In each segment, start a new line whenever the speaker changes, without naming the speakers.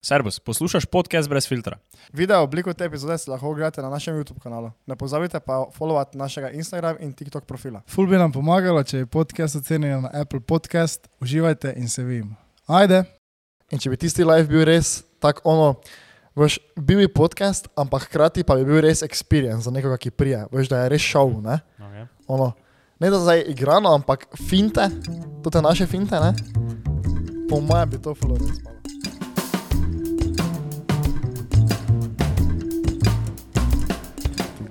Servus, poslušaš podcast brez filtra.
Video obliko te epizode si lahko ogledate na našem YouTube kanalu. Ne pozabite pa followati našega Instagram in TikTok profila.
Ful bi nam pomagalo, če je podcast ocenjen na Apple Podcast. Uživajte in se vim. Ajde!
In če bi tisti live bil res tako ono, veš, bil je podcast, ampak hkrati pa bi bil res experience za nekoga, ki prije. Veš, da je res šov, ne?
Okay.
Ono, ne da zdaj igrano, ampak finte, tudi te naše finte, ne? Po mojem bi to fulo res malo.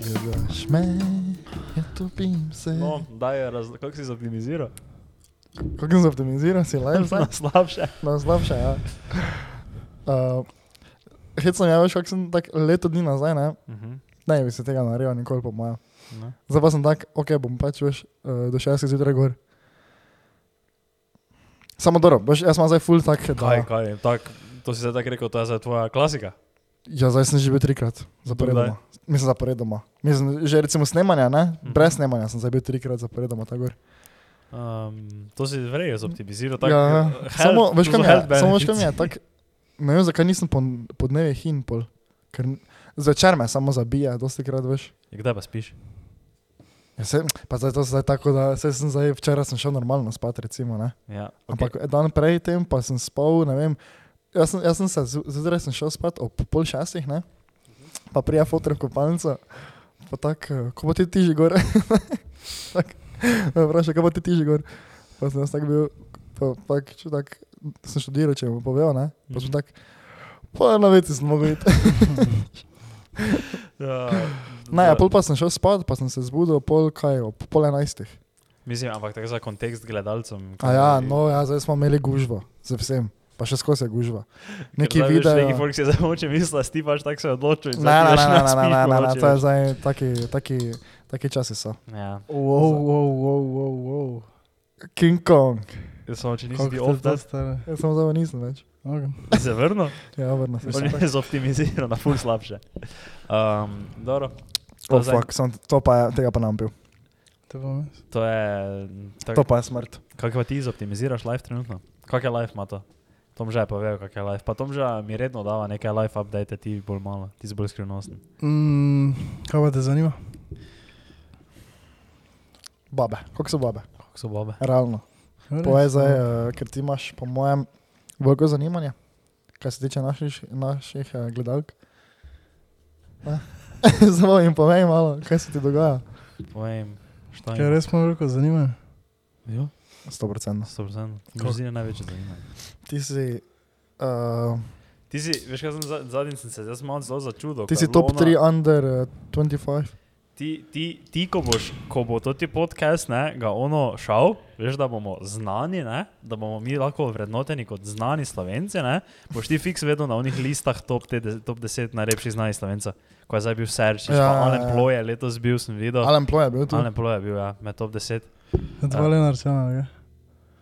Ti gledaš me, ja topim se.
No, daj, raz, kako si zoptimiziral?
Kako sem zoptimiziral, si live zdaj?
slabše.
No, slabše, ja. Uh, Hecno je, veš, kako sem tak leto dni nazaj, ne?
Uh -huh.
Ne bi se tega naredil nikoli po mojem.
no.
Zdaj pa sem tak, ok, bom pač, veš, uh, do šestih zjutraj gor. Samo dobro, veš, jaz sem zdaj full tak,
Kaj,
da...
kaj je, tak, to si zdaj tako rekel, to je zdaj tvoja klasika.
Ja, zdaj sem že bil trikrat, zaporedoma. Mislim, zaporedoma. Mislim, že recimo snemanja, ne? Brez snemanja sem zdaj bil trikrat zaporedoma, tako gor.
Um, to si verjetno zoptimiziral. Tak, eh,
Ja, ja.
health-
Samo, veš,
za
kaj mi je,
health benefits.
samo veš, kaj mi je, tak, ne vem, zakaj nisem po, po dnevi hin pol, ker n- zvečer me samo zabija, dosti krat veš.
Ja, Kdaj pa spiš?
Ja, se, pa zdaj to zdaj tako, da se sem zdaj, včeraj sem šel normalno spat, recimo, ne.
Ja, okay.
Ampak okay. dan prej tem pa sem spal, ne vem, jaz sem, jaz sem se, zu- zjutraj sem šel spat ob pol šestih, ne, pa prija fotor v kopalnico, pa tak, eh, ko bo ti tiži gor, tak, me vpraša, ko bo ti tiži gor, pa sem jaz tak bil, pa tak, če tak, sem študiral, če mu povejo, ne, pa sem
Mhm.
tak, pa na veci sem mogel iti.
Ja,
Ne,
da-
ja, pol pa sem šel spat, pa sem se zbudil pol kaj, ob pol enajstih.
Mislim, ampak tako za kontekst gledalcem.
A ja, no, ja, zdaj smo imeli gužvo, z vsem, pa še skozi je gužva. Neki
video. Neki
video.
folk si zdaj moče misliti, ti pač tako se odločil.
Ne,
in zdaj ti
ne,
daš
ne,
na
ne, ne, ne,
spiš,
ne, ne,
mogoče,
to je
veš.
zdaj taki, taki, taki časi so.
Ja,
Wow, wow, wow, wow, wow.
King Kong. Ja,
jaz samo če nisi
Kako
bil
ste to
off,
stari?
Jaz sem zelo nisem več.
Okay.
se vrnil.
Ja, vrno se.
Bolje je zoptimiziran, na ful slabše. Um, dobro, to
Oh,
zdaj-
fuck, sem, to pa je, tega pa nam bil.
To pa mes.
to je... Tak,
To pa je smrt.
Kako pa ti zoptimiziraš live trenutno? Kak je live, Mato? Tom že je povedal, kak je live. Pa Tom že mi redno dava neke live update, ti bolj malo, ti si bolj skrivnosten.
Mm, kaj pa te zanima?
Babe, kako so babe?
Kako so bobe?
Realno. Povej zdaj, eh, ker ti imaš, po mojem, veliko zanimanja, kar se tiče naših, naših eh, gledalk. Ne? Zelo jim povej malo, kaj se ti dogaja.
Povem, šta
eh,
Kaj res imam veliko zanimanja?
Jo,
100%.
100%. Mrzine največje zanima.
Ti si, uh,
Ti si, veš kaj, sem za- zadnjič sem se jaz malo zelo začudil.
ti
ko
si
je bilo
top 3
ona-
under eh, 25.
Ti, ti, ti ko, boš, ko bo to ti podcast, ne, ga ono šel, veš, da bomo znani, ne, da bomo mi lahko vrednoteni kot znani slovenci, ne, boš ti fiks vedno na onih listah top, te, de- top 10 najlepših znanih slovencev, ko je zdaj bil Serč, ja,
Ja,
pa
ja,
Alen
ja.
Ploje, letos bil sem videl.
Alan Ploy je bil tu.
Alen Ploje je bil, ja, med top 10.
Dva
Ja.
lenarčana,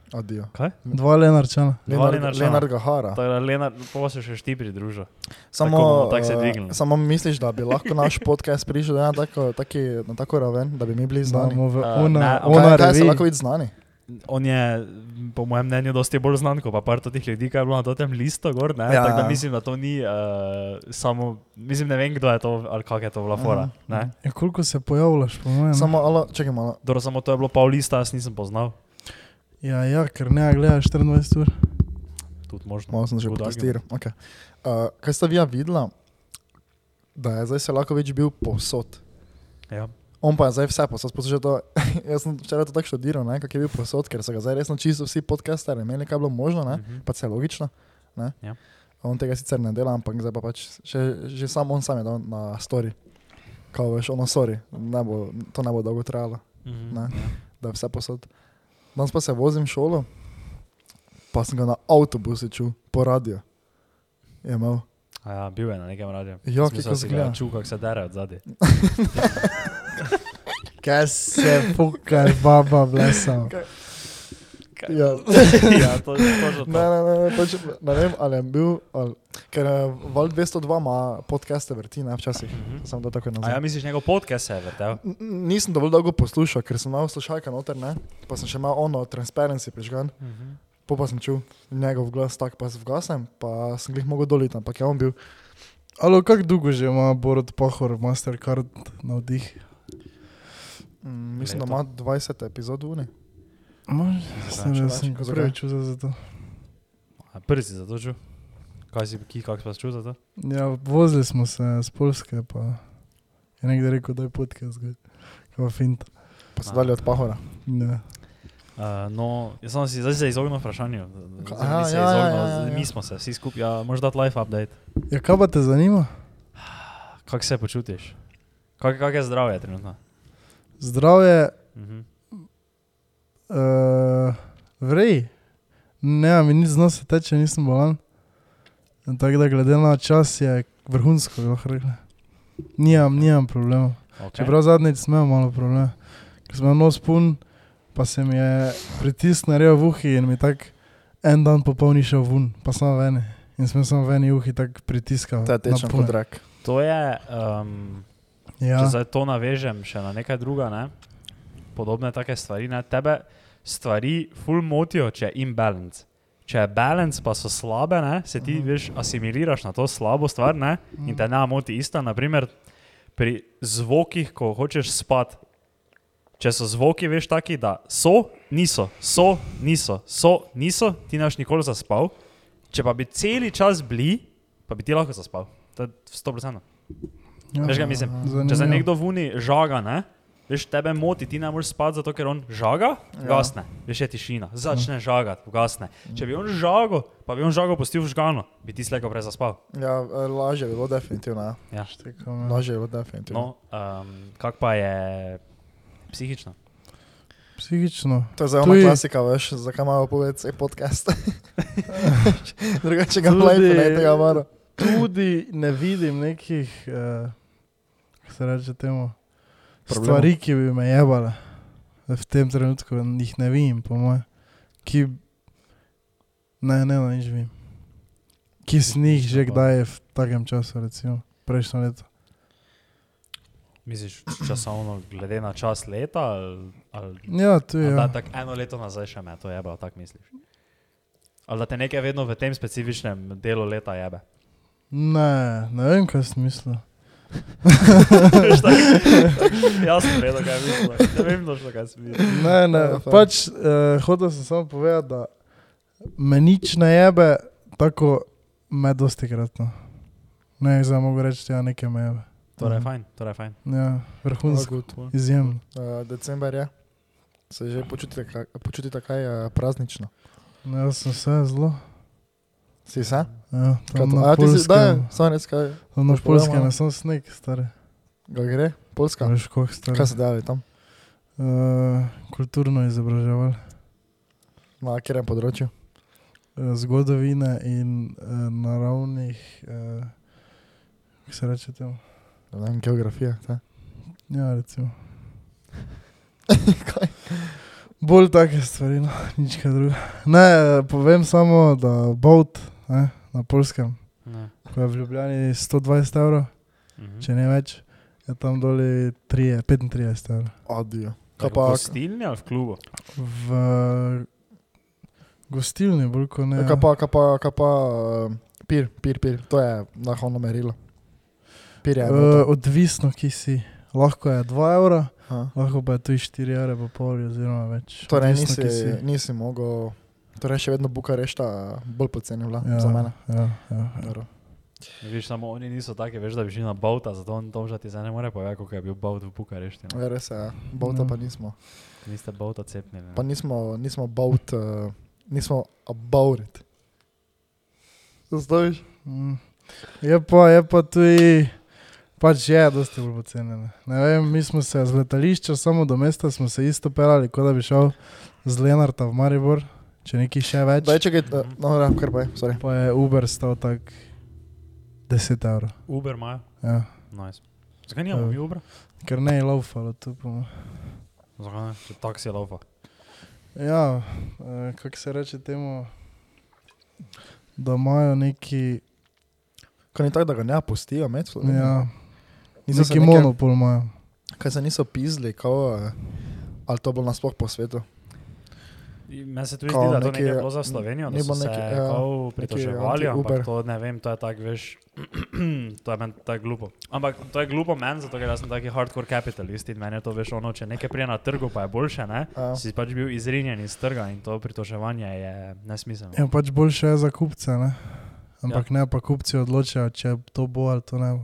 Adijo.
Kaj?
kaj? Dva lenarčana.
Dva
Leonard,
Lenarčana.
Leonard Gahara.
Tako da, Lena, pa se še šti pridružil.
Samo,
tako bomo tako se
eh,
dvignili.
samo misliš, da bi lahko naš podcast prišel na tako, taki, na tako raven, da bi mi bili znani?
Znamo v
Eh, ne,
ona,
ampak-
Kaj,
ona
kaj se
revi.
lahko vidi znani?
On je, po mojem mnenju, dosti bolj znan kot pa par totih ljudi, kar je bilo na tem listu. Gor,
Ja,
ne, ja, tako da
ja.
mislim, da to ni uh, samo, mislim, ne vem, kdo je to ali kak je to bila fora.
Mhm,
Mm,
Ja, koliko se pojavljaš, po mojem?
Samo, alo, čakaj malo.
Dobro, samo to je bilo pol lista, jaz nisem poznal.
Ja, ja, ker ne gledaš 24 ur.
Tudi možno.
Malo sem že
Good
protestiral. Okay. Uh, kaj ste vi videla, da je zdaj se lahko več bil povsod?
Ja.
On pa je zdaj vse posod, poslušaj to. Jaz sem včeraj to tako študiral, ne, kako je bil posod, ker so ga zdaj resno čisto vsi podcasteri imeli, kaj je bilo možno, ne?
Mhm.
pa se je logično. Ne?
Ja.
On tega sicer ne dela, ampak zdaj pa pač še, že sam on sam je dal na story. Kao veš, ono, sorry, ne bo, to ne bo dolgo trajalo,
Mhm.
Ne. da je vse posod. Danes pa se vozim v šolo, pa sem ga na avtobusu čutil, po radiju. Je imel.
A Ja, bil je na nekem radiju.
Ja,
Jaz sem
kako
mislil, da si ga
zgleda.
Čul, kako se dere od zadaj.
Kaj se pokaj, baba, blesa.
Ja.
ja, to je točno to.
Ne, ne, ne, ne, točno, ne vem, ali je bil, ali, ker eh, Val 202 ima podcaste vrti, ne včasih.
Mhm.
Sem to tako
A
nazaj.
ja, misliš, njegov podcast se je vrtel?
N- n- Nisem dovolj dolgo poslušal, ker sem imel slušalke noter, ne? pa sem še imel ono transparency prižgan,
Mhm.
Po pa sem čutil njegov glas, tako pa sem vgasem, pa sem jih mogel doliti, ampak je on bil.
Alo, kako dolgo že ima Borod Pahor Mastercard na vdih?
Mm, mislim,
Leto.
da ima 20 epizod vune.
Mož, sem,
več,
da sem ga
zakaj?
prvič vzel za to.
Mhm. A prvi si zato čutil? Kaj si, ki, kak si pa čutil za to?
Ja, vozili smo se z Polske, pa je nekdo rekel, da je podcast gor. Kaj pa fint.
Pa so dali od pahora.
Ja.
Uh, no, jaz sem si zdaj se izognil vprašanju. Zdaj
Aha,
nisi se
ja, ja, ja,
izognil,
ja,
zdaj
ja.
Mi smo se vsi skupaj, ja, moraš dati live update.
ja, kaj pa te zanima?
Kako se počutiš? Kako kak je zdravje trenutno?
Zdravje,
Mhm.
uh, vrej. Ne, mi nič znosa teče, nisem bolan. Tako da glede na čas je vrhunsko, bi lahko rekli. Nimam, nimam problemov.
Okay.
Čeprav zadnjič sem imel malo problema, ker sem imel nos pun, pa se mi je pritisk naredil v uhi in mi tako en dan popolni šel ven, pa samo ven. In sem samo ven in uhi tako pritiskal.
To je
na
tečen
pune.
kot rak.
To je, um, ja.
Ja,
če zdaj to navežem še na nekaj druga, ne? podobne take stvari, ne? tebe stvari ful motijo, če je imbalance. Če je balance, pa so slabe, ne? se ti
Mhm.
mm. veš, asimiliraš na to slabo stvar ne? in te ne moti ista. Naprimer, pri zvokih, ko hočeš spati. Če so zvoki, veš, taki, da so, niso, so, niso, so, niso, ti ne boš nikoli zaspal. Če pa bi celi čas bili, pa bi ti lahko zaspal. To je 100%.
ja,
Veš, kaj mislim? Če se
Zanimivo.
nekdo vuni žaga, ne? Veš, tebe moti, ti ne moreš spati, zato ker on žaga,
Ja.
gasne, veš je tišina, začne žagati, gasne. Če bi on žago, pa bi on žago pustil žgano, bi ti slejko prej zaspal.
Ja, eh, lažje je bilo definitivno. ja.
Ja.
Štekam, ja.
Lažje je bilo definitivno.
No, um, kak pa je psihično?
Psihično.
To je zdaj ona
Tudi-
klasika, veš, zakaj imamo povedati podcast. Drugače ga
Tudi-
live ne bi tega varo.
Tudi ne vidim nekih, eh, kako se reče temu,
Problemov.
stvari, ki bi me jebale. V tem trenutku jih ne vidim, po mojem. Ki, ne, ne, ne, nič vidim. Ki sem jih že kdaj v takem času, recimo prejšnjo leto.
Misliš, časovno, glede na čas leta? Ali, ali,
Ja, tu je.
ali da
Ja.
tako eno leto nazaj še me to jebe, ali tako misliš? Ali da te nekaj vedno v tem specifičnem delu leta jebe?
Ne, ne vem, kaj sem mislil.
Veš, tako, Jasno, ne vem, kaj je bilo. Ne vem, točno, kaj sem videl.
Ne, ne,
Ja, fajn.
pač eh, hotel sem samo povedati, da me nič ne jebe, tako me dosti kratno. Ne, zdaj mogo reči, ja, nekaj me jebe.
Torej, je fajn, torej, je fajn.
Ja, vrhunsko,
Good, uh,
izjemno.
december je. Se že počutite, kaj, počutite kaj uh, praznično.
Ne, No, jaz sem se zelo.
Si se?
Ja, tam
Kaj to-
na
A ti si zdaj,
Poljskem,
samo res kaj.
tam na
boš povedal
Poljskem,
malo?
ne sem sneg, stari.
Ga gre? Polska.
Veš, koliko star.
Kaj se dali tam?
Uh, kulturno izobraževali.
Na katerem področju?
eh, Zgodovine in uh, naravnih, uh, kako se reče temu.
Ne vem, geografija. ta.
Ja, recimo. Bolj take stvari, no, nič kaj drugega. Ne, povem samo, da Bovt ne, na polskem,
Ne.
ko je v Ljubljani 120 evrov,
Ja. Mhm.
če ne več, je tam doli 3, 35 evrov.
Adijo. Kaj
Tako
pa,
v gostilni ali v klubu?
V gostilni, bolj kot ne.
kaj pa, kaj pa, kaj pa uh, pir, pir, pir. To je nahovno merilo. Pir je.
Eh,
Uh,
odvisno, ki si. Lahko je 2 evra,
uh,
lahko pa je tudi 4 evra, pa pol oziroma več.
torej
Odvisno,
nisi,
kje si.
nisi mogel, torej še vedno Bukarešta bolj poceni bila
Ja,
ja. za mene.
Ja, ja, ja.
Dobro.
Viš, samo oni niso taki, veš, da bi šli na Bauta, zato on to že ti zdaj ne more povedati, kako je bil Baut v Bukarešti. ne.
Ja, Res je, bavta
Ja.
pa nismo.
Niste Bauta cepnili. ne.
Pa nismo, nismo baut, uh, nismo about it. Zdaj,
Mm. Je pa, je pa tudi, pač je, da ste bolj pocenjeni. Ne vem, mi smo se z letališča samo do mesta smo se isto pelali, kot da bi šel z Lenarta v Maribor, če nekaj še več.
daj, če ga, uh, no, ja, kar pa je, sorry.
Pa je Uber stal tak 10 evrov.
Uber imajo.
Ja.
Nice. Zakaj nimamo
Ja.
mi Ubra?
Ker ne je laufalo tu. po moje.
Zakaj ne? Če taksi laupa.
Ja, eh, kako se reče temu, da imajo neki,
Ko ni tako, da ga ne pustijo, med Slovenijo.
ja,
Niso se
neki
neke-
monopol imajo.
Kaj se niso pizli, kao, eh, ali to bolj nasploh po svetu.
Meni se tudi
Kao
zdi, da to
neki-
nekaj je bilo za Slovenijo, da
ni
so
bilo
se
neki,
neki,
ja,
kao pritoževali, ampak
anti-Uber.
to ne vem, to je tako, veš, to je meni tako glupo. Ampak to je glupo meni, zato ker jaz sem taki hardcore kapitalist in meni je to, veš, ono, če nekaj prije na trgu, pa je boljše, ne?
Ja.
Si pač bil izrinjen iz trga in to pritoževanje je nesmiselno.
Ja, pač boljše je za kupce, ne? Ampak ja. ne, pa kupci odločajo, če to bo ali to ne bo.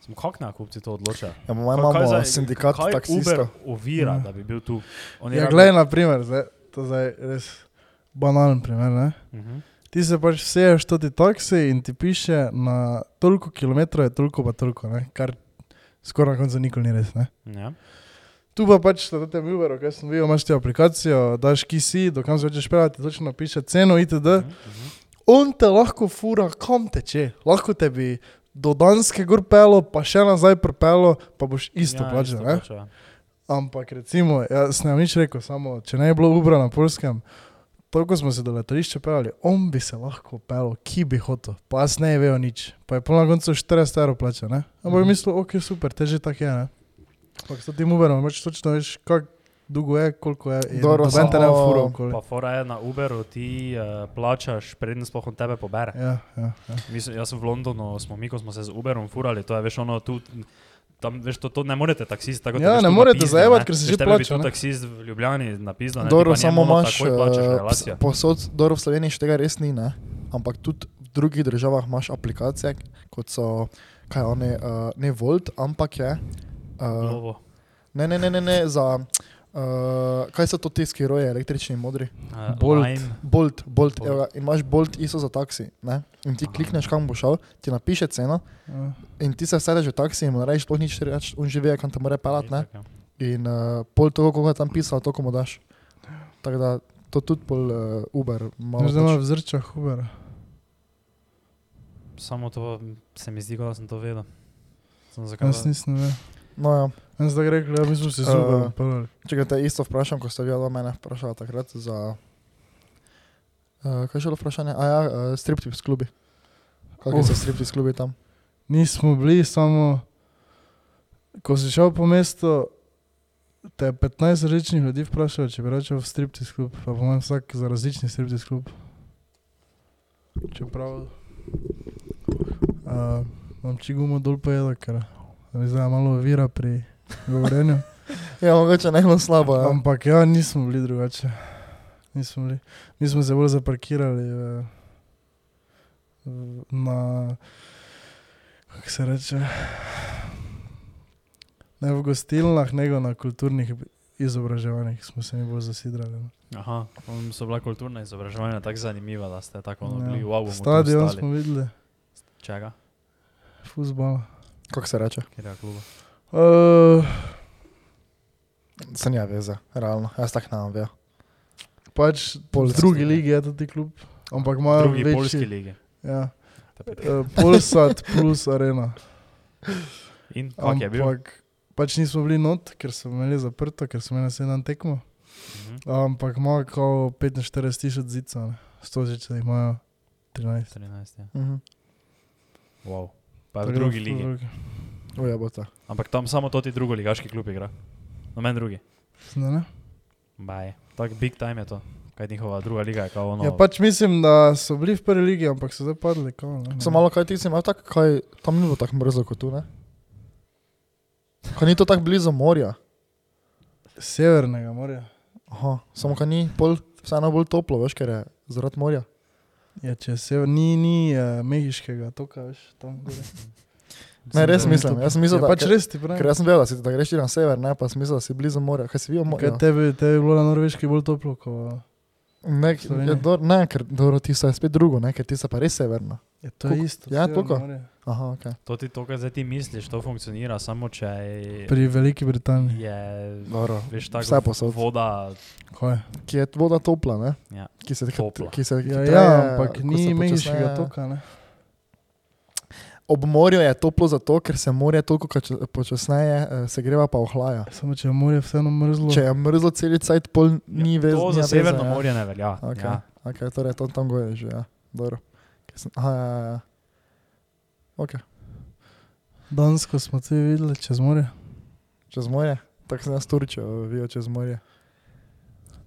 Sem kak na kupci to odloča?
Ja, moja mama
zdaj-
ima sindikat
kaj Uber
taksistov.
ovira,
Ja.
da bi bil tu. Oni
Ja,
rabijo-
glej, na primer, zdaj, to zdaj je res banalen primer, ne?
Mhm.
Ti se pač seješ toti taksi in ti piše na toliko kilometrov je toliko pa toliko, ne? Kar skoraj na koncu nikoli ni res, ne?
Ja.
Tu pa pač na tem Uberu, kaj sem videl, imaš ti aplikacijo, daš ki si, dokam se hočeš pelati, točno napiše ceno itd.
Mhm.
On te lahko fura, kam teče. Lahko te bi do Danske gor pelo, pa še nazaj propelo, pa boš isto ja, plačal. ne?
plačal, ja.
Ampak recimo, jaz ne bi nič rekel, samo če ne bi bilo Ubra na polskem, toliko smo se do letališča pelali, on bi se lahko pelal, ki bi hotel, pa jaz ne bi vejo nič. Pa je pa na koncu 40 evrov plačal, ne? Ampak mm.
Mhm.
mislil, ok, super, teže tak je, ne? Ampak s tem Uberom, pač točno veš, kako dolgo je, koliko je. in
Dobro,
noben te ne bo
samo-
furov okoli.
Pa fora je na Uberu, ti uh, plačaš, preden sploh on tebe pobere.
Ja, ja, ja.
Mislim, jaz sem v Londonu, smo mi, ko smo se z Uberom furali, to je veš ono tu. Tam, veš, to, to ne morete taksist tako
Ja, ne morete zajebati, ker si že plačal,
Če bi
ne.
bil taksist v Ljubljani napisal,
Dobro, samo imaš,
Takoj plačaš
eh,
relacijo.
ps- posod, dobro, v Sloveniji še tega res ni, ne? ampak tudi v drugih državah imaš aplikacije, kot so, kaj one, uh, ne Volt, ampak je. Uh,
Glovo.
ne, ne, ne, ne, ne, za. Uh, kaj so to te skiroje, električni modri?
Eh,
Bolt.
Lime.
Bolt, Bolt,
Bolt.
Bolt. Evra, in imaš Bolt isto za taksi. Ne? In ti
Aha.
klikneš, kam boš šel, ti napiše ceno
ja.
in ti se sedeš v taksi in mu ne rečeš, sploh nič reč, on živi, kam te mora pelati. ne.
Itak, ja.
In uh, pol toliko, koliko je tam pisalo, toliko mu daš. Tako da to tudi pol uh, Uber
No,
malo.
Zdaj imaš
Pač.
v zrčah Ubera.
Samo to se mi zdi, kot da sem to vedel. Sem zakaj,
Jaz nisem vedel.
No, ja.
Jaz sem tako rekel, ja, mi smo se z
Eh.
Uberom pelali.
Če ga te isto vprašam, ko ste vi od mene vprašali takrat za. Uh, kaj je bilo vprašanje? A ja, uh, striptips klubi. Kakšni so striptips klubi tam?
Nismo bili samo, ko si šel po mestu, te je 15 različnih ljudi vprašalo, če bi rečel v striptiz klub, pa po mojem vsak za različni striptiz klub. Čeprav uh, imam čigumo dol pojedo, ker mi zdaj malo ovira pri govorjenju.
Ja, mogoče ne bilo slabo. Ja.
Ampak ja, nismo bili drugače. Nismo bili. Mi smo se bolj zaparkirali v, v, na, kako se reče, ne v gostilnah, nego na kulturnih izobraževanjih smo se mi bolj zasidrali. no.
Aha, on so bila kulturna izobraževanja tako zanimiva, da ste tako ono,
Ja.
bili wow.
Stadion smo videli,
Čega?
fusbal.
Kako se reče?
Kjer je kluba?
Uh,
Se nja ja veze, realno. Jaz tak nam ve.
pač
Pol
v drugi
stadion.
ligi je tudi klub, ampak imajo
Drugi
večji,
polski ligi.
Ja,
Ta pet.
uh, Polsat plus arena.
In kak je bil?
Ampak pač nismo bili not, ker smo imeli zaprto, ker smo imeli naslednji dan tekmo.
Mhm.
Ampak ima kao 45 tisoč zidcev, ne. stoži, če jih imajo 13.
13, ja.
Mhm.
Wow. Pa
Tako
v
da
drugi
ful
ligi.
drugi.
Uja bo ta.
Mhm.
Ampak tam samo to ti drugo ligaški klub igra. No, meni drugi.
Ne, ne?
Baj. Tako big time je to. Kaj njihova druga liga je kao ono.
Ja, pač mislim, da so bili v prvi ligi, ampak so zdaj padli. Kao, ne, ne.
So malo kaj ti si imel tak, kaj tam ni bilo tako mrzlo kot tu, ne? Kaj ni to tako blizu morja?
Severnega morja.
Aha, samo kaj ni pol, vseeno bolj toplo, veš, ker je zaradi morja.
Ja, če je sever, ni, ni uh, mehiškega toka, veš, tam gore.
Ne, res
da ni
mislim,
toplo.
jaz sem mislil,
ja,
da-
pač
ker-
res ti
Ker
pravi.
jaz sem vedel, da si da greš ti na sever, ne, pa sem mislil, da si blizu morja. Kaj si videl ja. morja?
Kaj tebi, tebi je bilo na norveški bolj toplo, kot
Ne,
Slovenija?
je dor, ne, ker dobro, ti so spet drugo, ne, ker ti so pa res severno.
je to je
Koliko?
isto.
Ja,
Severno
toliko.
morje.
Aha, ok.
To ti to, kar zdaj ti misliš, to funkcionira samo če je.
Pri Veliki Britaniji.
je
Dobro.
veš, tako
No, Vse posod.
voda.
Kaj?
Ki je voda topla, ne?
Ja.
Ki se
Topla.
Ki se
Ja,
hitreje,
ja, ampak
ko se
ni
počasneje-
mehiškega toka, ne.
Ob morju je toplo zato, ker se morje toliko kač- počasneje eh, segreva pa ohlaja.
Samo če je morje vseeno mrzlo.
Če je mrzlo cel cajt, pol ni
Ja,
vez-
To
nima
za
veze.
Severno
ja.
morje ne velja.
Okay.
Ja.
Ja. Okay, torej, to tam gore že, ja. Dobro. Ker Sem, aha, ja, ja, ja. Ok,
Dansko smo tudi videli čez morje.
čez morje. Tako sem jaz Turčijo videl čez morje.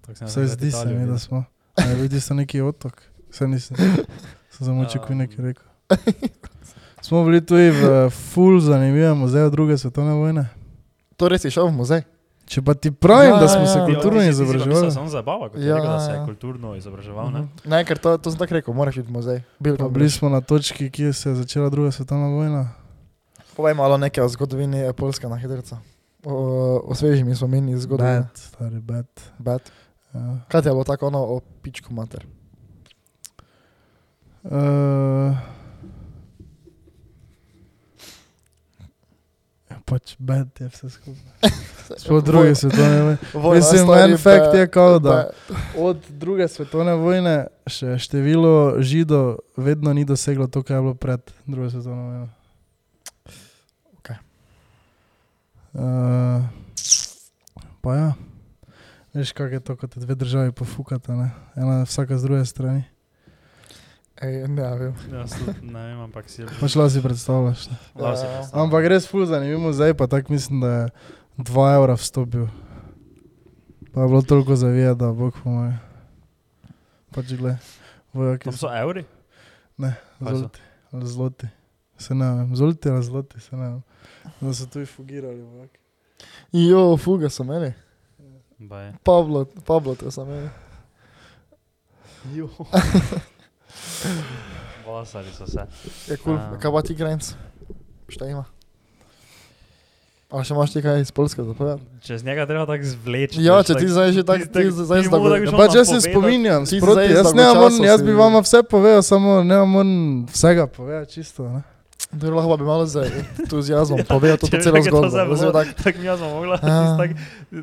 Tako sem jaz
Vse
takrat
zdi se
Italijo
mi, da
videl.
smo. A je bil tisto neki otok, vse nisem. Sem zamočil, ko je nekaj
Um.
rekel. Smo bili tudi v ful zanimivem muzeju druge svetovne vojne.
Torej si šel v muzej.
Če pa ti pravim,
Ja,
ja, da smo
ja,
ja, se
ja.
kulturno
Ja, ti si- ti si pa mislil,
izobraževali.
Samo zabava, kot je
Ja,
rekel, da se
ja. Mhm.
je kulturno izobraževal. ne?
Ne, ker to, to sem tako rekel, moraš iti v muzej. Bil
Pa
tam
bili smo na točki, kjer se je začela druga svetovna vojna.
Povej malo nekaj o zgodovini eh, Poljske na Hedrca. Osveži mi spomini iz zgodovine.
Bad, stari bad.
Bad.
Ja.
Kaj ti je bilo tako ono o pičku mater?
Uh, pač bad je vse skupaj. Sploh druge svetovne vojne.
Vojna,
Mislim,
stari,
en fakt
pa-
je kao, da
pa-
od druge svetovne vojne še število židov vedno ni doseglo to, kar je bilo pred drugo svetovno vojno.
Okej.
Uh, pa ja, veš, kako je to, ko te dve državi pofukata, ne? ena vsaka z druge strani.
Ej, ne ja, vem.
Jaz Ja, tudi ne vem, ampak si je
Pač lahko si predstavljaš. Ne?
Lahko si
Ja.
predstavljam.
Ampak res ful zanimivo, zdaj pa tako mislim, da je 2 evra vstopil. Pa je bilo toliko zavija, da bog pomaga. Pač gled, vojaki
Tam so evri? Kaj so?
Zolti, ali zloti. Se ne vem, zolti ali zloti, se ne vem. Da so tu fugirali, vojaki.
Jo, fuga so meni.
Baj.
Pablo, Pablo to so meni.
Vlasari so se.
Je kul,
Ja.
cool. kaj pa ti grenc? Šta ima? A še imaš ti kaj iz Poljske zapovedati?
Čez njega treba tako zvleči.
Ja,
veš,
če ti zdaj že tako- ti zdaj
ti
zdaj
mu
tako-
tako
Ja,
šel
pač
nam
jaz se
povedat.
spominjam,
Ti
sproti,
zdaj
jaz, ne
zdolgočasno
moram, jaz
si-
bi vama vse povedal, samo ne moram vsega povedati čisto. Ne?
Dobro, lahko pa bi malo z entuzijazmom povedal to
Če bi
celo
tako to
zgodbo.
zdaj
Zdaj,
bilo,
tak,
Tako mi jaz smo mogla,
Ja.
tako,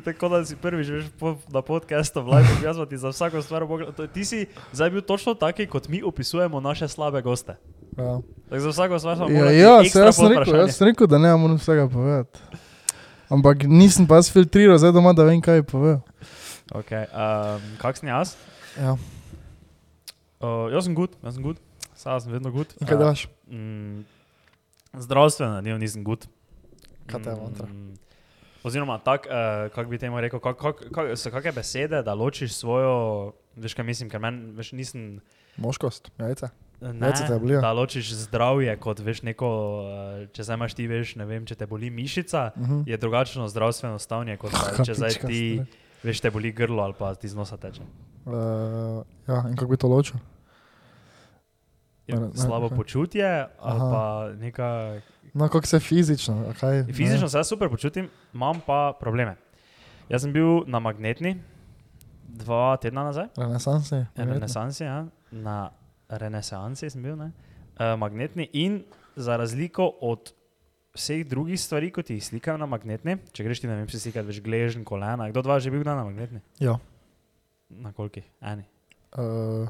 tako da si prvič veš po, na podkastu, vlaj, jaz smo ti za vsako stvar mogla. to- Ti si zdaj bil točno taki, kot mi opisujemo naše slabe goste.
ja.
Tako za vsako stvar smo
Ja,
mogli.
ja se jaz sem rekel, jaz sem rekel, da ne moram vsega povedati. Ampak nisem pa filtriral, zdaj doma, da vem, kaj bi povedal.
Okay, um, kak sem jaz?
ja.
Uh, jaz sem gut, jaz sem gut, sam sem vedno gut.
In kaj delaš?
Mm, zdravstveno, ne, nisem gut.
Kaj te je mantra?
Mm, Oziroma, tak, uh, kako bi temu rekel, kak, kak, kak, so kakšne besede, da ločiš svojo, veš kaj mislim, ker meni, veš, nisem,
Moškost, jajce.
ne,
Jajce te bolijo.
da ločiš zdravje kot, veš, neko, eh, če zdaj imaš ti, veš, ne vem, če te boli mišica,
Mhm.
je drugačno zdravstveno stanje, kot pa, če zdaj
Kapička,
ti,
stari.
veš, te boli grlo ali pa ti z nosa teče.
Uh, ja, in kako bi to ločil?
Je
Ne, ne,
Slabo
kaj.
počutje ali
Aha.
pa neka
No, kako se fizično, a kaj? ne?
Fizično se jaz super počutim, imam pa probleme. Jaz sem bil na magnetni dva tedna nazaj,
Renesansi. verjetno.
renesansi, ja. na renesansi sem bil, ne? Uh, magnetni in za razliko od vseh drugih stvari, kot jih slikajo na magnetni, če greš ti, ne vem, si slikati več gležen, kolena, kdo od vas je že bil kdaj na magnetni?
Ja.
Na koliki? Eni.
Uh,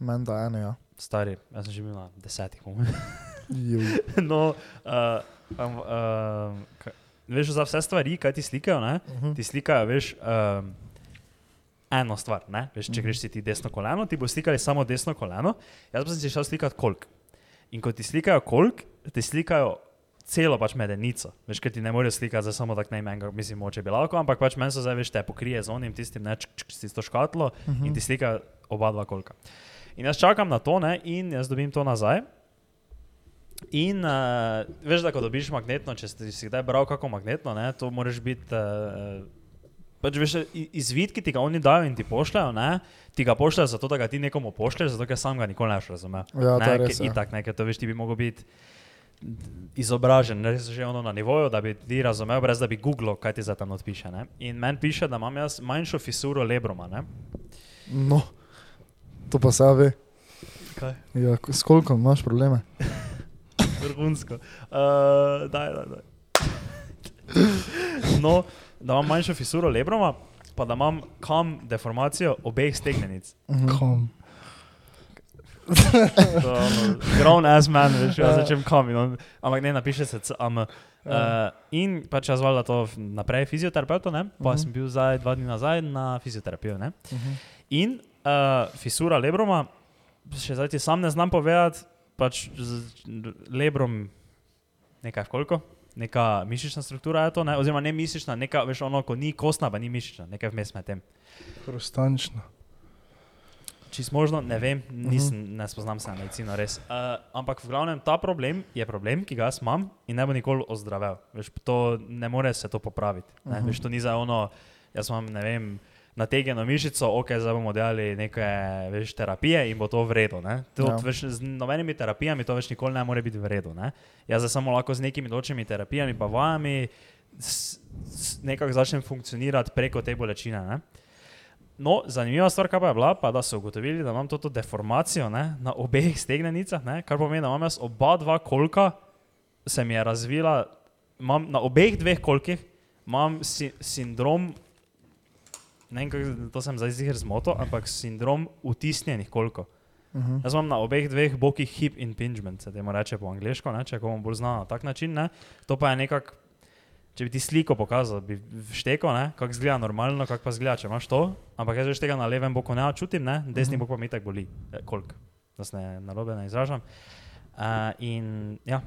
Menda eno, ja.
Stari, jaz sem že bil na desetih, po mojem.
Juj.
No, uh, um, uh, ka, veš, za vse stvari, kaj ti slikajo, ne?
Mhm.
ti slikajo, veš, um, eno stvar. ne, Veš, če greš si ti desno koleno, ti bo slikali samo desno koleno, jaz pa sem si šel slikati kolk. In ko ti slikajo kolk, ti slikajo celo pač medenico. Veš, ker ti ne morejo slikati za samo tako najmanjega, mislim, moče bi lahko, ampak pač meni so zdaj, veš, te pokrije z onim tistim, ne, čk, čk, s tisto škatlo in ti slikajo oba dva kolka. In jaz čakam na to, ne, in jaz dobim to nazaj. In uh, veš, da ko dobiš magnetno, če si si kdaj bral kako magnetno, ne, to moraš biti. Uh, Pač veš, i- izvid, ki ti ga oni dajo in ti pošljajo, ne, ti ga pošljajo zato, da ga ti nekomu pošlješ, zato ker sam ga nikoli ne boš razumel.
Ja, to
ne,
je
ker
res, ja.
Itak, ne, ker to veš, ti bi mogel biti izobražen, res že ono na nivoju, da bi ti razumel, brez da bi googlal, kaj ti za tam odpiše. Ne. In meni piše, da imam jaz manjšo fisuro lebroma. Ne.
No, to pa se ja ve.
Kaj?
Ja, ko- s koliko imaš probleme?
Vrhunsko. Uh, daj, daj, daj. No, da imam manjšo fisuro lebroma, pa da imam kam deformacijo obeh stegnenic.
Mhm.
Kom.
To je ono, Grown as man, veš,
Ja.
jaz začnem kam. in on- Ampak ne, napiše se CAM. Uh, in pač jaz valjda to f- naprej fizioterapeutu, ne? pa
Mhm.
sem bil zdaj dva dni nazaj na fizioterapijo. Ne?
Mhm.
In uh, fisura lebroma, še zdaj ti sam ne znam povedati, pač z z lebrom nekaj v koliko, neka mišična struktura je to, ne? oziroma ne mišična, neka, veš, ono, ko ni kostna, pa ni mišična, nekaj vmes med tem.
Hrustančno.
Čist možno, ne vem, nisem, ne spoznam se na medicino res. Uh, ampak v glavnem ta problem je problem, ki ga jaz imam in ne bo nikoli ozdravel. Veš, to ne more se to popraviti. Ne? Uh -huh. Veš, to ni za ono, jaz imam, ne vem, nategnjeno mišico, ok, zdaj bomo delali neke veš, terapije in bo to v redu. ne. To,
Ja.
ja. veš, z nobenimi terapijami to več nikoli ne more biti v redu. Ne? Jaz zdaj samo lahko z nekimi določenimi terapijami, pa vami, s- s- nekako začnem funkcionirati preko te bolečine. Ne? No, zanimiva stvar kaj pa je bila, pa da so ugotovili, da imam to, to deformacijo ne, na obeh stegnenicah, ne, kar pomeni, da imam jaz oba dva kolka, se mi je razvila, imam, na obeh dveh kolkih imam si, sindrom, ne vem, kako, to sem zdaj zihar zmotil, ampak sindrom utisnjenih kolkov.
Uh -huh.
Jaz imam na obeh dveh bokih hip impingement, se temu reče po angliško, ne, če komu bolj znano na tak način. Ne. To pa je nekako, če bi ti sliko pokazal, bi všteko, kako zgleda normalno, kako pa zgleda, če imaš to. Ampak jaz že tega na levem boku ne čutim, ne? desni
Mhm.
bok pa mi tako boli, eh, kolik, da se ne narobe ne izražam. Uh, in ja,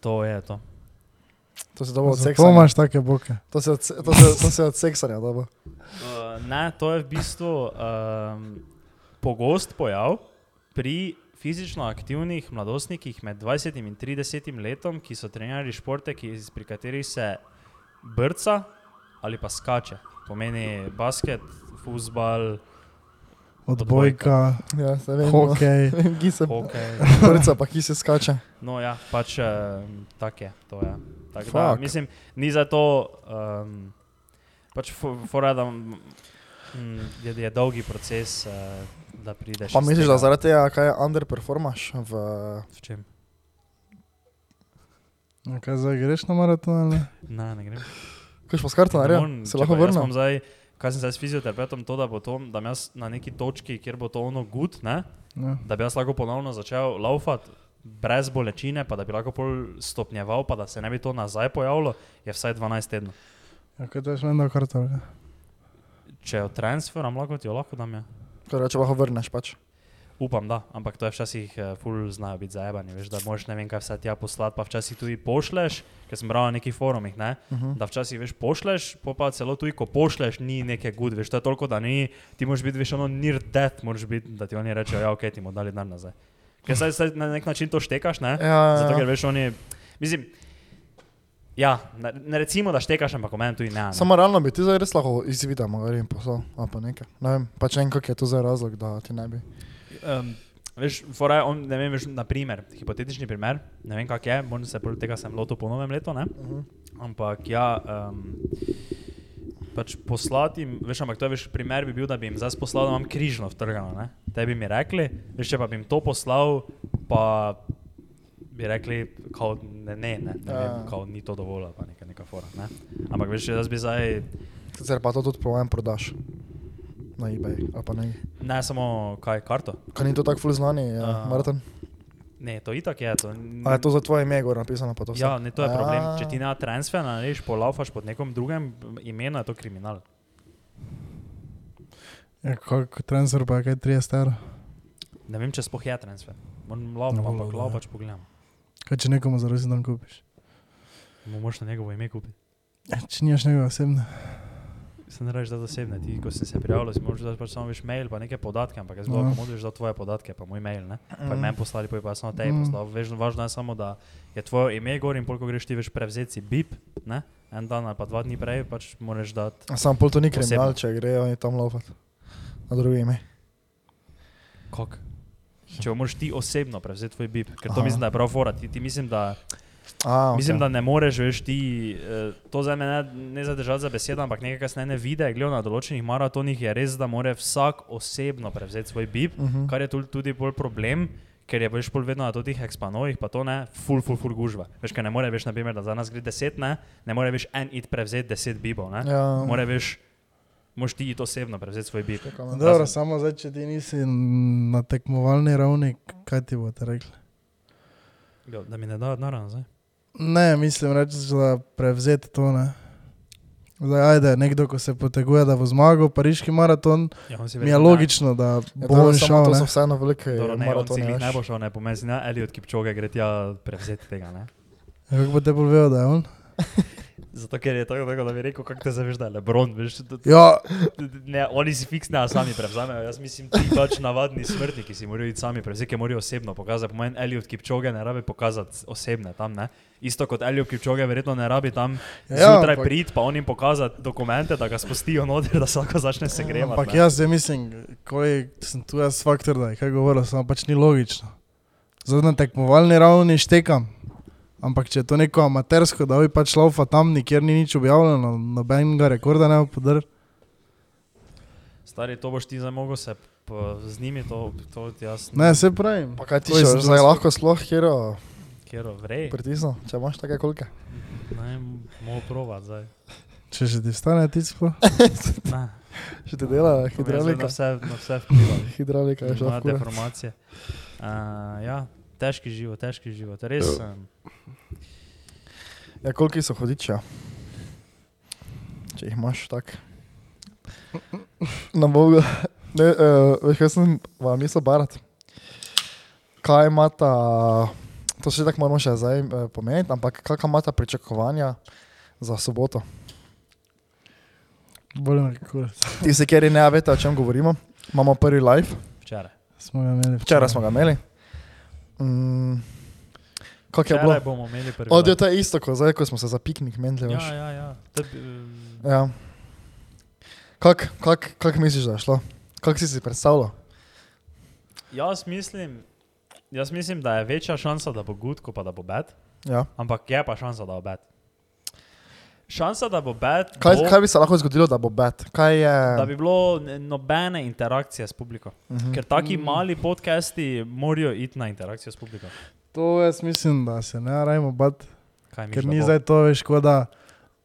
to je to.
To si dobro od seksa.
Zato imaš take boke.
To si od, se- to si, to si od seksarja dobro.
Uh, ne, to je v bistvu um, pogost pojav pri fizično aktivnih mladostnikih med 20 in 30 letom, ki so trenirali športe, ki, pri katerih se brca ali pa skače. Pomeni basket, fuzbal,
Odbojka,
Ja, se vem. no.
hokej.
Vem, ki se
hokej.
prca, pa ki se skače.
No, ja, pač um, tako je. To, ja. tak, da,
Fuck.
mislim, ni za to, um, pač foradam, mm, je, je dolgi proces, uh, da prideš.
Pa
iz
misliš, da
tega.
zaradi tega, kaj underperformaš v...
V čem?
No, Kaj zdaj greš na maraton? ali
Ne,
Ne?
ne grem.
Kaj pa s kartonarja?
Ne morem,
Se
če
lahko
pa jaz imam
vrnem?
Zdaj, kaj sem zdaj s fizioterapeutom, to da bo to, da bom jaz na neki točki, kjer bo to ono gud, ne,
Ja.
da bi jaz lahko ponovno začel laufati brez bolečine, pa da bi lahko pol stopnjeval, pa da se ne bi to nazaj pojavilo, je vsaj 12 tednov.
Ja, kaj daš meni na kartol? ja?
Če jo transferam, lahko ti jo lahko dam. Ja.
Torej, če lahko vrneš pač.
Upam, da, ampak to je včasih eh, ful znajo biti zajebani, veš, da moraš ne vem kaj vse tja poslati, pa včasih tudi pošleš, ker sem bral na nekih forumih, ne,
Uh -huh.
Da včasih veš pošleš, pol pa celo tudi ko pošleš, ni neke good, veš, to je toliko, da ni, ti moraš biti veš ono near death, moraš biti, da ti oni rečejo, ja, ok, ti bomo dali denar nazaj. Ker saj, saj na nek način to štekaš, ne?
Ja, ja,
Zato,
ja.
ker veš oni, mislim, ja, ne, ne recimo, da štekaš, ampak omen tudi ne. ne.
Samo realno bi ti zdaj res lahko izvida, mogoče jim poslal, ali pa nekaj. Ne vem, pač ne vem, kak je to za razlog, da ti ne bi.
Um, veš, fora je, on, ne vem, veš, na primer, hipotetični primer, ne vem kak je, moram se proti tega sem lotil po novem letu, ne?
Uh
Ampak ja, um, pač poslati jim, veš, ampak to je veš, primer bi bil, da bi jim zdaj poslal, da imam križno vtrgano, ne? Te bi mi rekli, veš, če pa bi jim to poslal, pa bi rekli, kao, ne, ne, ne, ne vem,
Ja.
kao, ni to dovolj, ali pa neka, neka fora, ne? Ampak veš, jaz bi zdaj,
-huh. Sicer pa to tudi po mojem prodaš na eBay, ali pa ne.
ne samo, kaj, karto?
Kaj ni to tako ful znani, ja,
Ja.
Martin?
Ne, to itak je, to ni...
A je to za tvoje ime gor napisano, pa to vse?
Ja, ne, to je problem. Če ti
ne...
na transfer narediš, polaufaš pod nekom drugim imenu, je to kriminal.
Ja, koliko transfer pa je kaj 30 evrov?
Ne vem, če sploh je transfer. Moram laufati,
Ne bo
ampak
lov,
lauf
ja.
pač pogledam.
Kaj če nekomu za rojsten dan kupiš?
Mu moraš na njegovo ime kupiti.
Ja, če nimaš njega osebno.
Se ne rečeš, da zasebne. Ti, ko si se prijavljal, si moraš dati pač samo več mail, pa neke podatke, ampak jaz bi
Ja.
lahko model dal tvoje podatke, pa moj mail, ne? Pa
Mm.
mm. meni poslali, pa je pa samo tebi
Mm.
mm. poslal. Veš, važno je samo, da je tvoje ime gor in koliko greš ti več prevzeti si bip, ne? En dan ali pa dva dni prej pač moraš dati.
Sam pol to ni
Osebno.
kriminal, če grejo oni tam laufat. Na drugo ime.
Kok? Če jo moraš ti osebno prevzeti tvoj bip, ker to
Aha.
Aha. mislim, da je prav fora. Ti, ti mislim, da
A,
Okay.
okay.
Mislim, da ne moreš veš ti, eh, to za me ne, ne zadržati za besedo, ampak nekaj kasneje vide, gledano na določenih maratonih je res, da mora vsak osebno prevzeti svoj bib,
Uh
Mhm.
-huh.
kar je tudi, tudi bolj problem, ker je veš bolj vedno na totih ekspanovih, pa to ne, full, full, full gužva. Veš, kaj ne more veš, naprimer, da za nas gre deset, ne, ne more veš en it prevzeti deset bibov, ne. Ja.
Ja,
More veš, moš ti it osebno prevzeti svoj bib.
Čakam, ne.
Dobro, samo zdaj, če ti nisi na tekmovalni ravni, kaj ti boste rekli?
Jo, Da mi ne dajo denarja nazaj.
Ne, mislim, reči, da prevzeti to ne. Zdaj, ajde, nekdo, ko se poteguje, da bo zmagal pariški maraton,
Ja, on si
mi je
verjetno ne-
logično, da
Ja,
bo
to,
on
je samo,
šel.
to
ne.
so vseeno velike
Dobro, ne, on si
maratone.
jih ne
veš.
bo šel, ne pomeni, ne, Eliot Kipčoge gre tja prevzeti tega, ne.
Ja, Kako bo te povedal, da je on?
Zato ker je tako, tako da bi rekel, kako te zaveš, da je Lebron. Veš, da-
Ja,
ne, oni si fiksne, a sami prevzamejo. Jaz mislim, ti pač navadni smrtniki si morajo iti sami prevzeti, ki morajo osebno pokazati. Pomeni, Eliot Kipčoge ne rabi pokazati osebne tam, ne? Isto kot Eliot Kipčoge verjetno ne rabi tam ja,
Ja,
zjutraj
ampak-
priti, pa onim pokazati dokumente, da ga spustijo noter, da se lahko začne se gremati.
Ja, ampak jaz zdaj mislim, kolik sem tu jaz faktor, da je kaj govoril, samo pač ni logično. Zdaj na tekmovalni ravni štekam. Ampak če je to neko amatersko, da bi pač laufa tam, nikjer ni nič objavljeno, nobenega rekorda ne bo podrl.
Stari, to boš ti zdaj mogel se p- z njimi, to, to jaz
Ne, se pravim.
Pa kaj ti
To je
še
zdaj
zdaj
sploh-
lahko sploh hero
kjer vrej.
pritisnil, če imaš take kolke?
Ne, mogo provat zdaj.
Če že ti stane ticko,
Ne,
Še ti dela
to mi je zdaj na
hidraulika.
vse, na vse vpliva.
Hidraulika je šla
Ima
v kura.
deformacije. Uh, ja, težki život, težki život. Res sem.
Ja, kolki so hodiča? Če jih imaš tak. Na bogu. Ne, uh, veš, kaj sem vam mislil barat. Kaj imata, to še tako moramo še zdaj uh, pomeniti, ampak kakšna imata pričakovanja za soboto?
bolj me kurac.
Ti se kjer ne veste, o čem govorimo. Imamo prvi live,
Včeraj.
Smo ga imeli
včeraj smo ga imeli. Mm, kak je bilo?
Včeraj bomo imeli prvi.
Odijo,
live.
to je isto, kot zdaj, ko smo se za piknik menili.
Ja, ja, ja. To bi, um,
Ja. Kako kak, kak misliš, da je šlo? Kako si si predstavljal?
jaz, mislim, jaz mislim, da je večja šansa, da bo gud, kot pa da bo bed.
Ja.
Ampak je pa šansa, da bo bed. Šansa, da bo bed,
Kaj,
bo,
kaj bi se lahko zgodilo, da bo bed? Kaj je?
No. da bi bilo n- nobene interakcije s publiko.
Mhm.
Ker taki
Mm.
mali podcasti morajo iti na interakcijo s publiko.
To jaz mislim, da se ne rajmo bat,
Kaj misliš,
ker
da
ni
bo?
zdaj to veš, kot da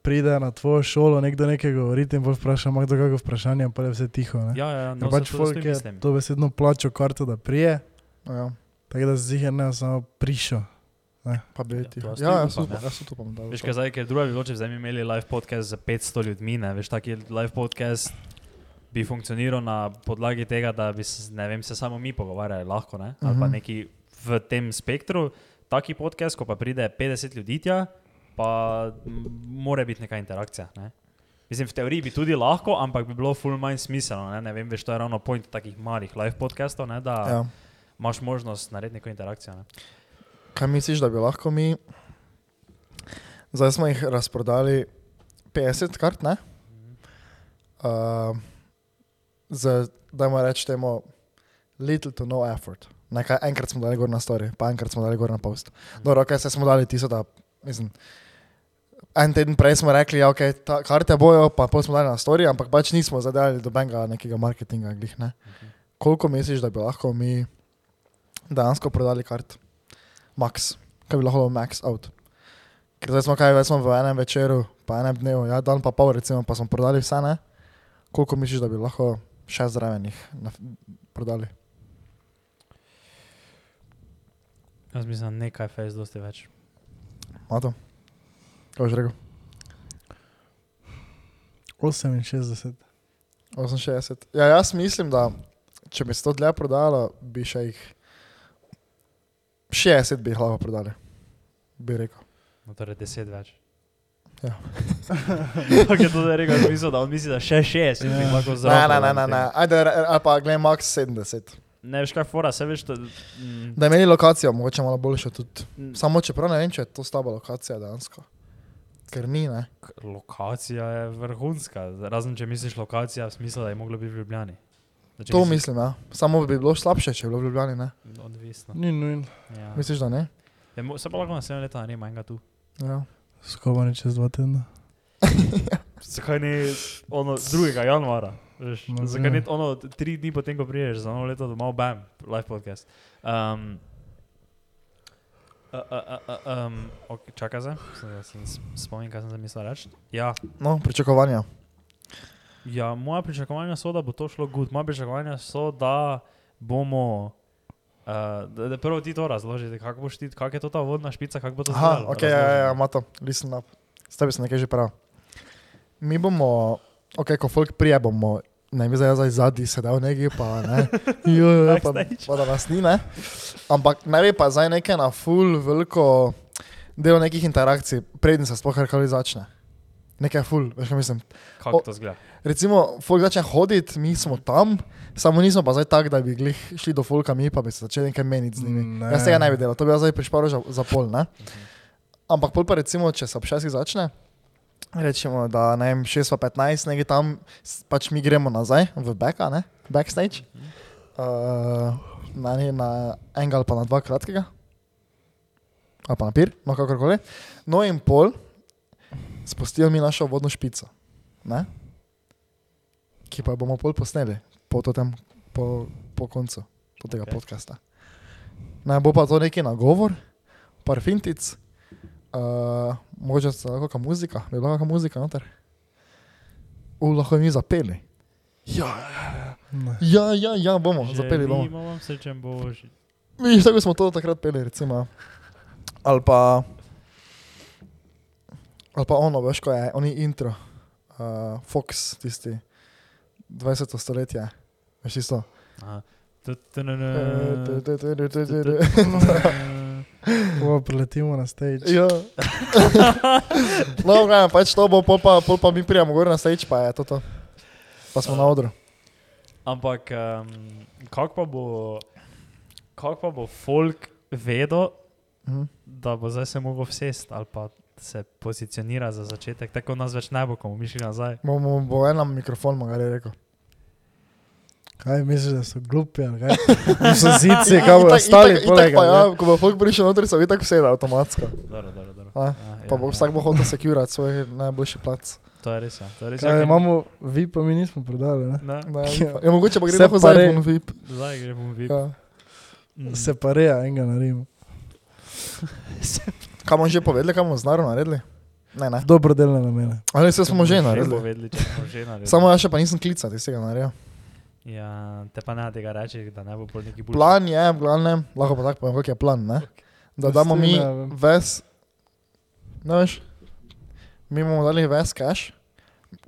pride na tvojo šolo nekdo nekaj govoriti in bo vprašal, ima kdo kakšno vprašanje, in pa je vse tiho. Ne?
Ja, ja, ja, no,
Ker pač
pač
folk je
mislim.
to besedno plačo karto, da prije,
Ja.
tako da ziger ne bo samo prišel.
Pa bi
Ja,
ti.
to jaz
Ja,
tudi
jaz
upam,
upam,
ne.
jaz tudi upam. da bo
Veš,
to.
kaj zdaj, ker druga bi bilo, če bi zdaj mi imeli live podcast za 500 ljudmi, ne veš, taki live podcast bi funkcioniral na podlagi tega, da bi se, ne vem, se samo mi pogovarjali, lahko ne, ali pa
Mhm.
neki v tem spektru. Taki podcast, ko pa pride 50 ljudi tja, pa m, mora biti neka interakcija. Ne? Mislim, v teoriji bi tudi lahko, ampak bi bilo full manj smiselno. Ne, ne vem, veš, to je ravno point takih malih live podcastov, ne, da ja.
Ja.
imaš možnost narediti neko interakcijo. Ne.
Kaj misliš, da bi lahko mi? Zdaj smo jih razprodali 50 kart, ne? Uh, z, dajmo reči temu, little to no effort. Nekaj, enkrat smo dali gor na story, pa enkrat smo dali gor na post. Dobro, ok, se smo dali tisto, da mislim. En teden prej smo rekli, da okay, ta- karte bojo, pa pol smo dali na story, ampak pač nismo zadali dobenega nekega marketinga. Glih, ne?
Mhm.
Koliko misliš, da bi lahko mi dejansko prodali kart? Max, kaj bi lahko bilo max out. Ker zdaj smo kaj, zdaj smo v enem večeru, pa enem dnevu, ja, dan pa pol, recimo, pa smo prodali vse, ne? Koliko misliš, da bi lahko še zraven jih naf- prodali?
Jaz mislim, nekaj fejs, dosti več.
Mato? Kaj boš rekel?
68.
68. Ja, jaz mislim, da če bi se to dlje prodalo, bi še jih 60 bi jih lahko prodali. Bi rekel.
No, torej deset več.
Ja.
Ampak je to zdaj rekel, jaz mislim, da on misli, da še šest, jaz bi
Ja.
jih lahko
Ne,
zraven.
ne, ne, ne, ne. Ajde, re- re- ali pa gledaj, max 70.
Ne veš, kaj fora, se veš, to, mm,
Da imeli lokacijo, mogoče malo boljšo tudi.
mm,
Samo čeprav ne vem, če je to slaba lokacija dejansko. Ker ni, ne.
k- lokacija je vrhunska, razen če misliš lokacija, v smislu, da je moglo biti v Ljubljani. Da, če
To
misliš-
mislim, ja. Samo bi bilo slabše, če bi bilo v Ljubljani, ne. No.
Odvisno.
Ni nujno.
Ja.
Misliš, da ne?
Je mo- Se pa lahko naslednje leto ne ima enega tu.
Ja.
Skobani čez dva tedna.
Zakaj ni ono 2. januara? Veš,
No,
zakaj ni
ja.
ono tri dni potem, ko priješ za novo leto domov, bam, live podcast. Um, a, a, a, a, um, okay, čakaj se, sem s- spomnim, kaj sem zamislil reči. Ja,
No, pričakovanja.
ja, moja pričakovanja so, da bo to šlo gut. Moja pričakovanja so, da bomo. Uh, da, da prvo ti to razloži, kako boš ti, kak je to ta vodna špica, kako bo to
Aha,
zgledalo,
ok, ja, ja, ja,
razloži.
Mato, listen up. S tebi sem nekaj že prav. Mi bomo, ok, ko folk prije bomo, ne bi zdaj jaz zdaj zadnji sedel neki, pa ne. Jo, jo, jo, pa,
Backstage.
pa da nas ni, ne. Ampak ne bi pa zdaj nekaj na full veliko del nekih interakcij, preden se sploh karkoli začne. Nekaj ful, veš, kaj mislim.
Kako
O-
to zgleda?
Recimo, folk začne hoditi, mi smo tam, samo nismo pa zdaj tak, da bi glih šli do folka, mi pa bi se začeli nekaj meniti z njimi.
Mm, Ne.
Ne. Mm, Jaz tega ne bi delal, to bi jaz zdaj prišparil za, za pol. Ne? Ampak pol pa recimo, če se ob šestih začne, rečemo, da ne vem, 6.15, nekaj tam, s- pač mi gremo nazaj v backa, ne? backstage, uh, na, ne, na enega ali pa na dva kratkega, ali pa na pir, no kakorkoli. No in pol, spustijo mi našo vodno špico, ne? ki pa jo bomo pol posneli po, totem, po, po koncu po tega
Okej.
okay. podcasta. Naj bo pa to neki nagovor, par fintic, uh, mogoče se lahko kakšna muzika, bi bila kakšna muzika noter. U, lahko bi mi zapeli. Ja,
Ne.
ja, ja, ja bomo, Že zapeli bomo.
Želimo vam srečen božič.
Mi tako smo to takrat peli, recimo. ja. Ali pa, ali pa ono, veš, ko je, oni intro, uh, Fox, tisti 20. stoletje, veš tisto.
Aha. Tu, tu, nu, nu.
Eh. Ko preletimo na stage.
Ja. no, gledam, pač to bo, pol pa, pol pa mi prijemo gor na stage, pa je to. to. Pa smo na odru.
Ampak um, kako pa bo, kak pa bo folk vedel,
Mhm.
da bo zdaj se mogel vsest ali pa se pozicionira za začetek, tako nas več ne bo, ko bomo šli nazaj.
Bo, bo, bo en nam mikrofon, magar je rekel.
Kaj misliš, da so glupi ali kaj? So
Ja,
zici, kaj bodo stali
poleg
poleg.
tega. Ja, ko bo folk prišel noter, se bo itak vse avtomatsko.
Dobro, dobro, dobro.
A,
ja,
Pa bo vsak bo hotel sekurati svoj najboljši plac.
To je res. Ja. To je res
Kaj
ja,
imamo, vi pa mi nismo prodali, ne?
Ne,
Ne, ja, mogoče pa gre
Se
lahko
pa
za
re-
iPhone VIP.
zdaj gremo vi.
Ja.
Se pa reja enega naredimo.
Kam bomo že povedali, kam bomo z narom naredili? Ne, ne.
V dobrodelne namene.
Ali se smo že
Že
naredili.
povedali, če smo že naredili.
Samo jaz še pa nisem klical, ti si ga naredil.
Ja, te pa ne tega reči, da ne bo pol neki bullshit.
Plan je, v glavnem, lahko pa tako povem, kak je plan, ne? Da
Veš,
damo
to
mi
ne vem.
ves, ne veš, mi bomo dali ves cash,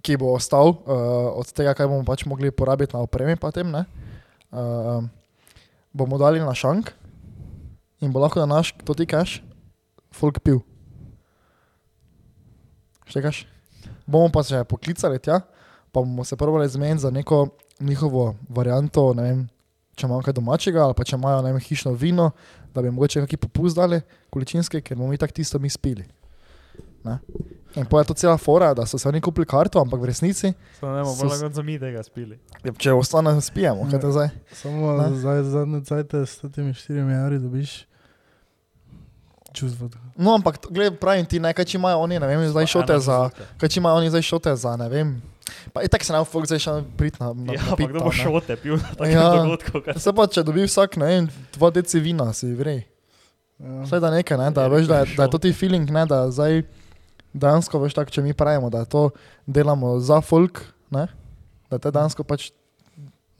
ki bo ostal uh, od tega, kaj bomo pač mogli porabiti na opremi, pa tem, ne? Uh, bomo dali na šank in bo lahko na naš, to ti cash, folk pil. Štekaš? Bomo pa se poklicali tja, pa bomo se probali zmeniti za neko njihovo varianto, ne vem, če imajo kaj domačega ali pa če imajo ne vem, hišno vino, da bi mogoče kakšen popust dali, količinske, ker bomo mi tako tisto mi spili. Ne? In pa je to cela fora, da so se oni kupili karto, ampak v resnici,
Samo ne bomo
So
bolj na
s-
koncu mi tega spili.
ja, če ostane, spijemo, kaj te zdaj.
Samo
Ne.
zdaj zadnje cajte s temi 4 evri dobiš čustvo.
No, ampak to- glej, pravim ti, ne, kaj če imajo oni, ne vem, zdaj šote za, kaj če imajo oni zdaj šote za, ne vem. Pa itak se ne bo folk zdaj šel prid na, na,
Ja,
na
ampak
pit,
kdo bo
ne.
šote pil na takem
Ja.
dogodku? kaj-
Se pa, če dobi vsak, ne vem, dva deci vina, si vrej. Vsaj da nekaj, ne, da, veš, da, je- da je to ti feeling, ne, da zdaj dejansko veš tako, če mi pravimo, da to delamo za folk, ne, da te dejansko pač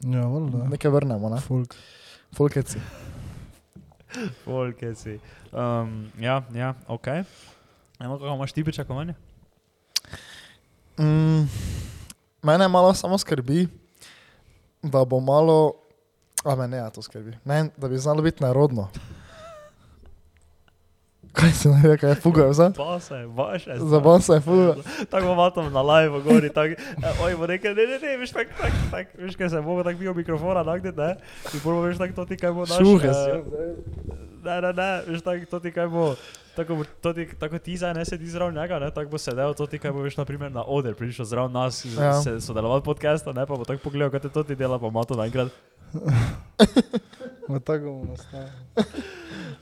Ja, valjda.
nekaj vrnemo, ne,
Folk.
folkeci.
Folke si. Um, ja, ja, ok. Eno, kako imaš ti pričakovanje?
Mm, mene malo samo skrbi, da bo malo, a me ne, ja, to skrbi, ne, da bi znalo biti narodno. Kaj si ne rekel, je fuga, za?
Pa se, vaše.
Zabal se je fuga.
Tako bom atom na live gori, tako, eh, oj, bo rekel, ne, ne, ne, veš, tako, tako, tak, veš, kaj se bo, tako bil mikrofona, nakdje, ne, in prvo veš, tako, to ti kaj bo naš.
Šuhe si,
eh, Ne, ne, ne, veš, tako, to ti kaj bo, tako, bo- to ti, tako ti zdaj ne sedi zraven njega, ne, tako bo sedel, to ti kaj bo, veš, naprimer na oder, prišel zraven nas, ja.
Ja.
se sodelovati podcasta, ne, pa bo tako pogledal, kaj te to ti dela, pa ima to naenkrat.
Ma tako bomo nastali.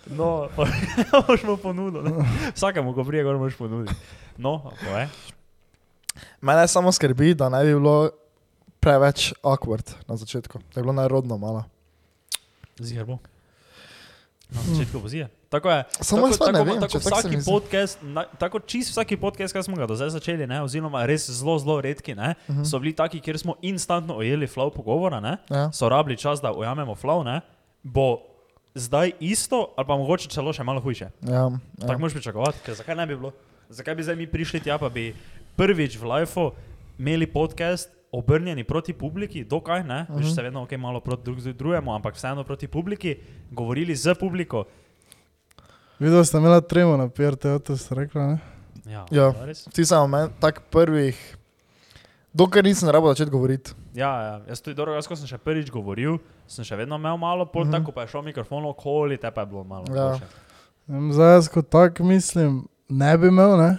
No, moš mu ponudil. ne. Vsakemu, ko prije, gor moš ponuditi. No, poje.
Mene samo skrbi, da ne bi bilo preveč awkward na začetku, da je bilo narodno malo.
Ziger bo. Na začetku bo ziger. Tako je.
Samo
tako,
jaz pa ne
tako,
vem,
tako
če tako se
vsaki
mi zdi.
podcast, na, tako čist vsaki podcast, ki smo ga do zdaj začeli, ne, oziroma res zelo, zelo redki, ne, uh
Mhm.
-huh. so bili taki, kjer smo instantno ujeli flow pogovora, ne,
Ja.
so rabili čas, da ujamemo flow, ne, bo zdaj isto, ali pa mogoče celo še malo hujše.
Ja, ja.
Tako moš pričakovati, ker zakaj ne bi bilo? Zakaj bi zdaj mi prišli tja, pa bi prvič v lifeu imeli podcast obrnjeni proti publiki, dokaj ne,
Mhm.
uh -huh. veš se vedno ok, malo proti drug drugemu, ampak vseeno proti publiki, govorili z publiko.
Videla ste imela tremo na PRT, to ste rekla, ne?
Ja,
Ja.
to je res.
Ti samo meni, tak prvih, dokler nisem rabo začeti govoriti.
Ja, ja. Jaz tudi dobro, jaz ko sem še prvič govoril, sem še vedno imel malo pol, mm
Mhm.
-hmm. tako pa je šel mikrofon okoli, te pa je bilo malo.
Ja.
boljše.
Em, Zdaj jaz kot tak mislim, ne bi imel, ne?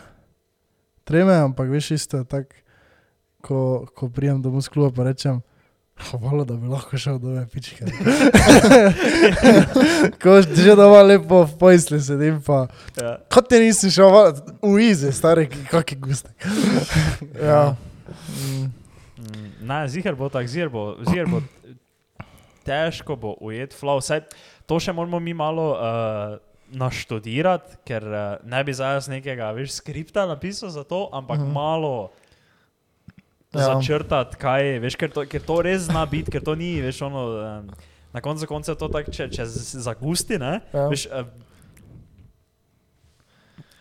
Treme, ampak veš isto je tak, ko, ko prijem domov z kluba pa rečem, hvala, da bi lahko šel do ove pičke. ko že doma lepo v pojsli sedim pa,
Ja.
kot ti nisi šel, hvala, v izi, stari, kaki gusti.
Ja.
Mm, Ne, zir bo tak, zir bo, zir bo težko bo ujet flow. Saj, to še moramo mi malo uh, naštudirati, ker uh, ne bi zdaj jaz nekega, veš, skripta napisal za to, ampak
Mhm.
mm. malo
Ja.
ja. začrtati, kaj je, veš, ker to, ker to res zna biti, ker to ni, veš, ono, um, na koncu konca to tako, če, če z- zagusti, ne,
Ja.
veš, uh,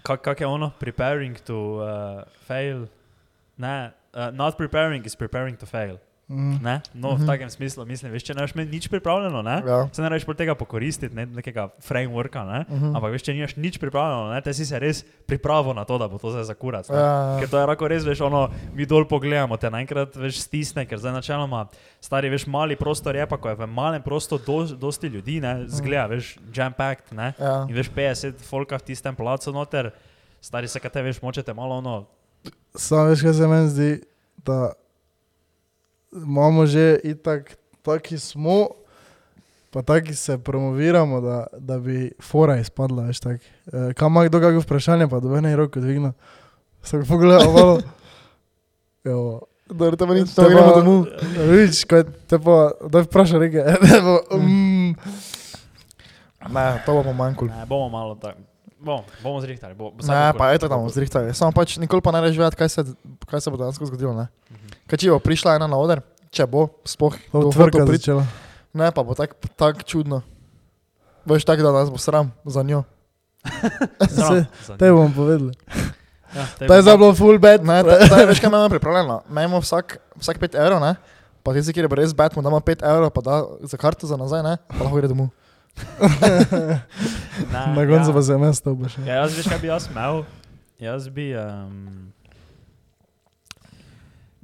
kak, kak je ono, preparing to uh, fail, ne, uh, not preparing is preparing to fail,
Mm.
ne, no,
Mhm.
v takem smislu, mislim, veš, če ne veš nič pripravljeno, ne,
Ja.
se ne rečeš pol tega pokoristiti, ne, nekega frameworka, ne,
Mhm.
ampak veš, če nimaš nič pripravljeno, ne, te si se res pripravo na to, da bo to zdaj zakurat, ne.
Ja.
Ker to je lahko res, veš, ono, mi dol pogledamo, te naenkrat veš stisne, ker zdaj načeloma stari veš mali prostor je, pa ko je v malem prostoru do, dosti ljudi, ne, zgleda, veš, jam packed, ne,
Mhm. Ja.
in veš 50 folka v tistem placu noter, stari se, kaj te veš, močete malo ono,
Sam veš, kaj se meni zdi, da imamo že itak, taki smo, pa taki se promoviramo, da, da bi fora izpadla, veš tak. E, kam ima kdo kakšno vprašanje, pa dobe ne roko dvigna. Sem ga pogledal malo. Evo.
Dobro, to meni
Te
to gremo
pa-
domov.
Vič, kaj te pa, da vpraša reke. Te pa, "Eh, mm,
Ne, to bo pomanjkalo.
ne, bomo malo tako, bom, bomo zrihtali, Ja, bo, bo
Ne,
vsakakor-
pa je to tam zrihtali. Samo pač nikoli pa ne rečeš, vedeti, kaj, se- kaj se bo dejansko zgodilo. Ne?
Mhm.
Kaj če bo prišla ena na oder, če bo, spoh,
to
kdo
bo
bo to
tvrka
prič-
pričela.
Ne, pa bo tako tak čudno. Veš, tako da nas bo sram za njo.
Sram, za
Te
njih.
bom povedal.
Ja, te
To je
bom-
zdaj bilo full bad.
Ne, ta, ta, veš, kaj imamo pripravljeno. Imamo vsak, vsak 5 evrov, ne? pa tisti, ki je brez bat, mu damo 5 evrov, pa da za karto za nazaj, ne? pa lahko gre domov.
ne,
Na koncu
ja.
pa se je mesto obašlo.
Ja, jaz veš, kaj bi jaz imel. Jaz bi. Um,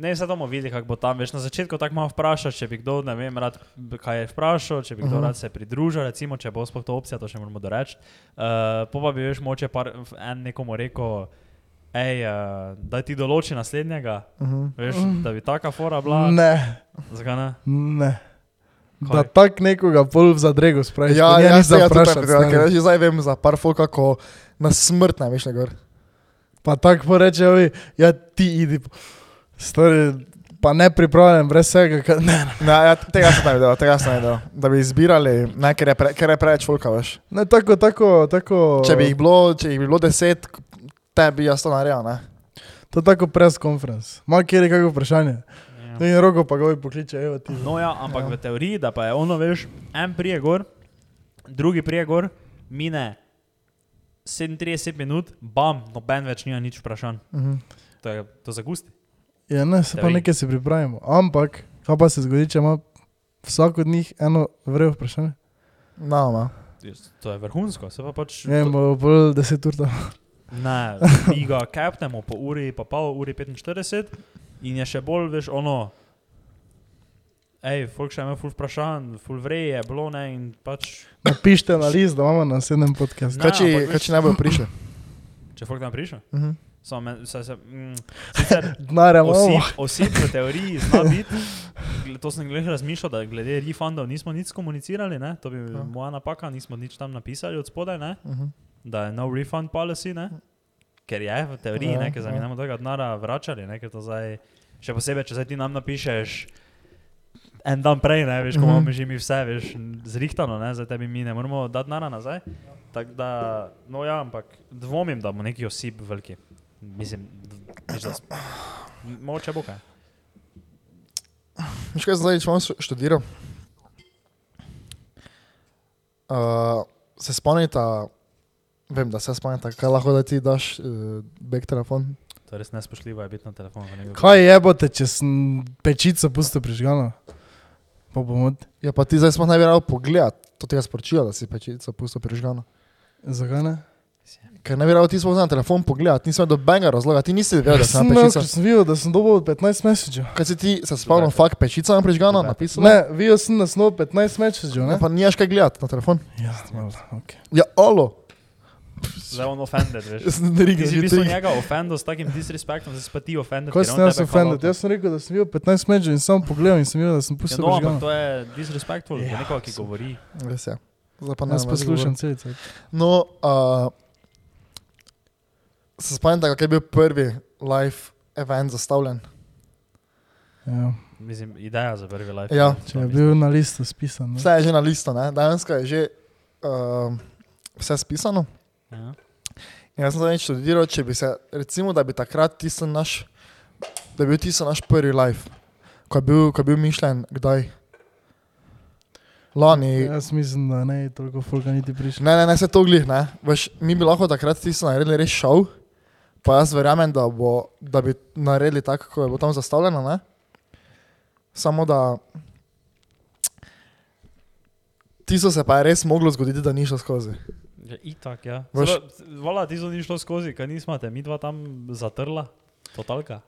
ne, zdaj bomo videli, kako bo tam. Veš, na začetku tako malo vprašaš, če bi kdo, ne vem, rad, b- kaj je vprašal, če bi kdo
Mhm.
uh -huh. rad se pridružil, recimo, če bo sploh to opcija, to še moramo doreči. Uh, po pa bi veš, moče par, v- en nekomu rekel, hej, uh, da ti določi naslednjega,
Uh -huh.
veš,
Mhm.
da bi taka fora bila.
Ne.
Zakaj ne? Ja.
Ne.
Kaj?
Da tak nekoga pol v zadrego spraviš.
Ja,
to
ja,
ni
jaz se
za
ga tudi
vprašati.
pripravljam, ker
stari.
jaz že zdaj vem za par folk, kako na smrt ne veš, ne gor.
Pa tak pa reče, ovi, ja ti idi. po-" Stari, pa ne pripravljen, brez vsega. ka- Ne, ne.
Ne, ja, tega sem ne videl, tega sem ne videl. Da bi izbirali, ne, ker je, pre, ker je preveč folka, veš.
ne tako, tako, tako.
Če bi jih bilo, če jih bi bilo deset, te bi jaz to naredil, ne?
To je tako press conference. Ma kjer je kakšno vprašanje.
Ja.
To je roko, pa ga ovi pokliče, evo ti.
No, ja, ampak
Ja.
ja. v teoriji, da pa je ono, veš, en prije gor, drugi prije gor, mine 37 minut, bam, noben več nima nič vprašanj.
Mhm.
To je to za gusti.
Ja, ne, se pa
Teorij.
nekaj si pripravimo. Ampak, kaj pa se zgodi, če ima vsak od njih eno vrejo vprašanje?
No, no.
To je vrhunsko, se pa pač.
Ne,
to,
bo bolj deset ur tam.
ne mi ga kapnemo po uri, pa pol uri 45 in je še bolj, veš, ono. Ej, folk še ima ful vprašanj, ful vreje, bilo ne in pač,
Napišite na list, da imamo na sedem podcast.
Ne,
Kaj če,
ampak
kaj če ne bojo prišli?
če folk tam prišel.
Mhm.
Samo, men- se, se, mm, sicer,
Dnare,
Osip,
imamo.
osip v teoriji zna biti. Gle- To sem glih razmišljal, da glede refundov nismo nič komunicirali, ne? to bi
Ja.
ja. moja napaka, nismo nič tam napisali od spodaj, ne?
Mhm.
da je no refund policy, ne? ker je v teoriji,
Ja,
ja, ker
ja.
nam ja. tega denara vračali, ne? ker to zdaj, še posebej, če zdaj ti nam napišeš. En dan prej, ne veš, ko
Mhm.
imamo že mi vse, veš, zrihtano, ne, zdaj tebi mi ne moremo dati denara nazaj. Tako da, no ja, ampak dvomim, da bo neki osip veliki. Mislim, d- veš, da s- m- mogoče bo kaj.
Veš kaj, zdaj, če imam študiral, uh, se spomnite, vem, da se spomnite, kaj lahko da ti daš uh, back telefon.
To je res nespoštljivo, je biti na telefonu. ko nekdo-
Kaj je bote, če sem pečico pusto prižgano? Pa bomo.
Ja, pa ti zdaj smo najbolj rado pogledati, to tega sporočila, da si pečico pusto prižgano.
Zakaj ne?
Ker ne bi rad ti spomnil na telefon pogledati, nisem imel dobenega razloga, ti nisi vedel, Ja, da sem
sem
na
imel,
pečica.
ker sem videl, da sem dobil 15 mesičev.
Kaj si ti se spomnil, fakt pečica na prižgana,
Dobre.
napisano?
Ne, videl sem, da sem dobil 15 mesičev,
Ja,
ne?
Pa nimaš kaj gledati na telefon.
Ja, valjda, okej.
Ja, alo.
Zdaj on offended, veš.
Jaz sem rekel,
Ti
že
si v bistvu
tri.
njega offendil s takim disrespektom, zdaj si pa ti offended. ker
Kaj sem
on no,
jaz
tebe
offended?
hvala.
Jaz sem rekel, da sem videl 15 mesičev in sam pogledal in sem videl, da sem
Ja,
pustil
no, ampak
prižgano.
to je disrespectful, ja,
Ja,
nekoga, ki
super.
govori.
Res je. Zdaj pa ne
Jaz
bom
poslušam celice.
govoril. No, uh, se spomnim, da je bil prvi live event zastavljen.
Ja,
Mislim, ideja za prvi live.
Ja.
event,
če je
mislim.
bil na listu spisan. ne.
Vse je že na listu, ne? danes je že uh, vse spisano.
Ja.
In jaz sem zadnjič študiral, če bi se, recimo, da bi takrat tisti naš, da bi bil tisti naš prvi live, ko je bil, ko je bil mišljen, kdaj? Lani.
Jaz mislim, da ne, toliko folka niti prišli.
Ne, ne, ne se to glih, ne. Veš, mi bi lahko takrat tisto naredili res šov, pa jaz verjamem, da, bo, da bi naredili tako, kot je bilo tam zastavljeno, ne. Samo da. Tisto se pa je res moglo zgoditi, da ni šlo skozi.
Ja, itak, ja.
Veš-
Zelo, vala, ti so ni šlo skozi, kaj nismo te, mi dva tam zatrla. Totalka.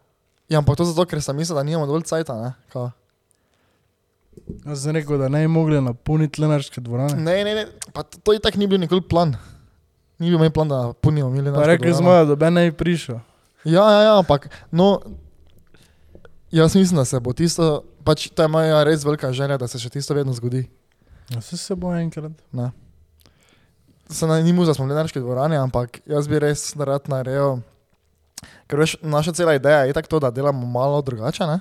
Ja, ampak to zato, ker sem mislil, da nimamo dovolj cajta, ne. Kao.
Jaz sem rekel, da ne bi mogli napolniti lenarške dvorane.
Ne, ne, ne, pa to, to itak ni bil nikoli plan. Ni bil moj plan, da punimo milijon.
Pa rekli smo, ja, da ben ne bi prišel.
Ja, ja, ja, ampak no, jaz mislim, da se bo tisto, pač to je moja res velika želja, da se še tisto vedno zgodi.
Ja, se se bo enkrat.
Se na nimu zasmo gledališke dvorane, ampak jaz bi res rad naredil, ker veš, naša cela ideja je tako to, da delamo malo drugače, ne?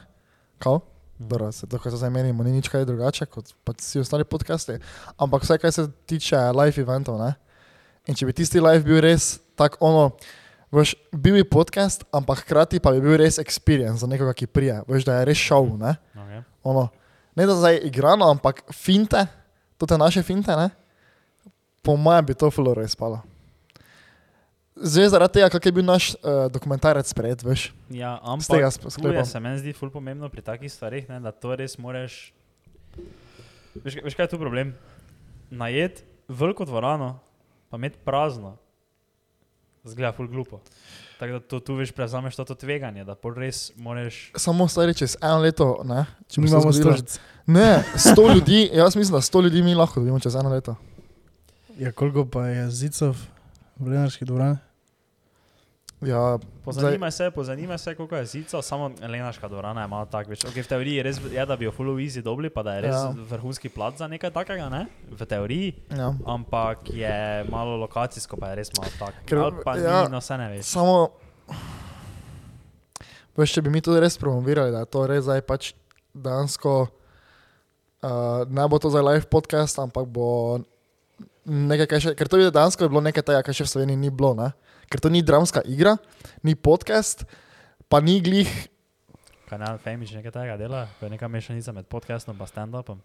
Kao? Dobro, se to, kar se zdaj menimo, ni nič kaj drugače kot pač vsi ostali podcasti. Ampak vse, kar se tiče live eventov, ne? In če bi tisti live bil res tako ono, veš, bil bi podcast, ampak hkrati pa bi bil res experience za nekoga, ki prije, veš, da je res šov, ne?
Okay.
ono, ne da zdaj igrano, ampak finte, to te naše finte, ne? po mojem bi to fuloro izpalo. Zdaj zaradi tega, kak je bil naš uh, dokumentarec sprejet, veš,
Ja,
z tega
ampak
sp-
to je
sklepa.
se meni zdi ful pomembno pri takih stvarih, ne, da to res moraš. Veš, veš kaj je tu problem? Najet veliko dvorano, pa imeti prazno. Zgleda ful glupo. Tako da to tu veš, prevzameš to, to tveganje, da pol res moraš.
Samo stari čez eno leto, ne?
Če
bi
mi
se
imamo
zgodilo-
storice.
Ne, sto ljudi, jaz mislim, da sto ljudi mi lahko dobimo čez eno leto.
Ja, koliko pa je zicov v lenarški dvorani?
Ja,
Pozanima se, pozanima se, koliko je zica, samo lenaška dvorana je malo tako. Okay, v teoriji res je, da bi jo full easy dobili, pa da je res
Ja.
ja. vrhunski plat za nekaj takega, ne? V teoriji.
ja.
ampak je malo lokacijsko, pa je res malo tako.
Ker-
Ker Ali pa
ja.
ja. ni, no se ne veš.
Samo, veš, če bi mi to res promovirali, da je to res zdaj pač dejansko, uh, ne bo to zdaj live podcast, ampak bo nekaj, kar še, ker to je dejansko je bilo nekaj tega, kar še v Sloveniji ni bilo, ne? ker to ni dramska igra, ni podcast, pa ni glih,
Kanal Femiš nekaj tega dela, ko je neka mešanica med podcastom in stand-upom.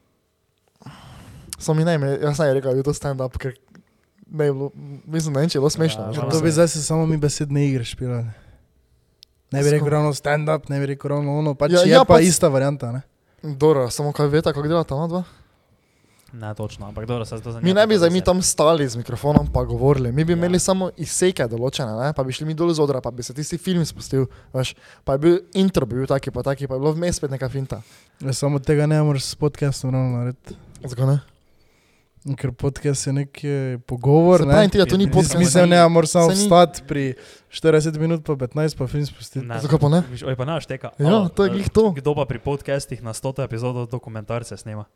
so mi ne, jaz ne bi rekel, da je bil to stand-up, ker ne je bilo, mislim, ne vem, če je bilo smešno.
Ja,
veš,
ja,
ampak
To
se-
bi zdaj se samo mi besedne igre špilali. Ne bi rekel
Sko-
ravno stand-up, ne bi rekel ravno ono, pač
Ja,
ja, je
ja,
ja, pa
pač-
ista varianta. Ne?
Dobro, samo kaj veste, kako delata ona dva?
Ne točno, ampak dobro, se to zanima.
Mi ne bi zdaj mi tam stali z mikrofonom pa govorili, mi bi
Ja.
imeli samo izseke določene, ne? pa bi šli mi dol z odra, pa bi se tisti film spustil, veš, pa je bil intro, bi bil taki pa taki, pa je bilo vmes spet neka finta.
Ja, samo tega ne moreš s podcastom ravno narediti.
Zakaj ne?
Ker podcast je nek eh, pogovor,
Se pravi,
ne?
ti, da to ni
Ti si
Ti
podcast.
smisel ne, moraš samo
saj ni-
vstati pri 40 minut pa 15 pa film spustiti.
Ne,
Zakaj pa ne?
Viš, oj, pa naš teka.
Ja, to je glih to.
Kdo pa pri podcastih na 100 epizodo dokumentarce snema?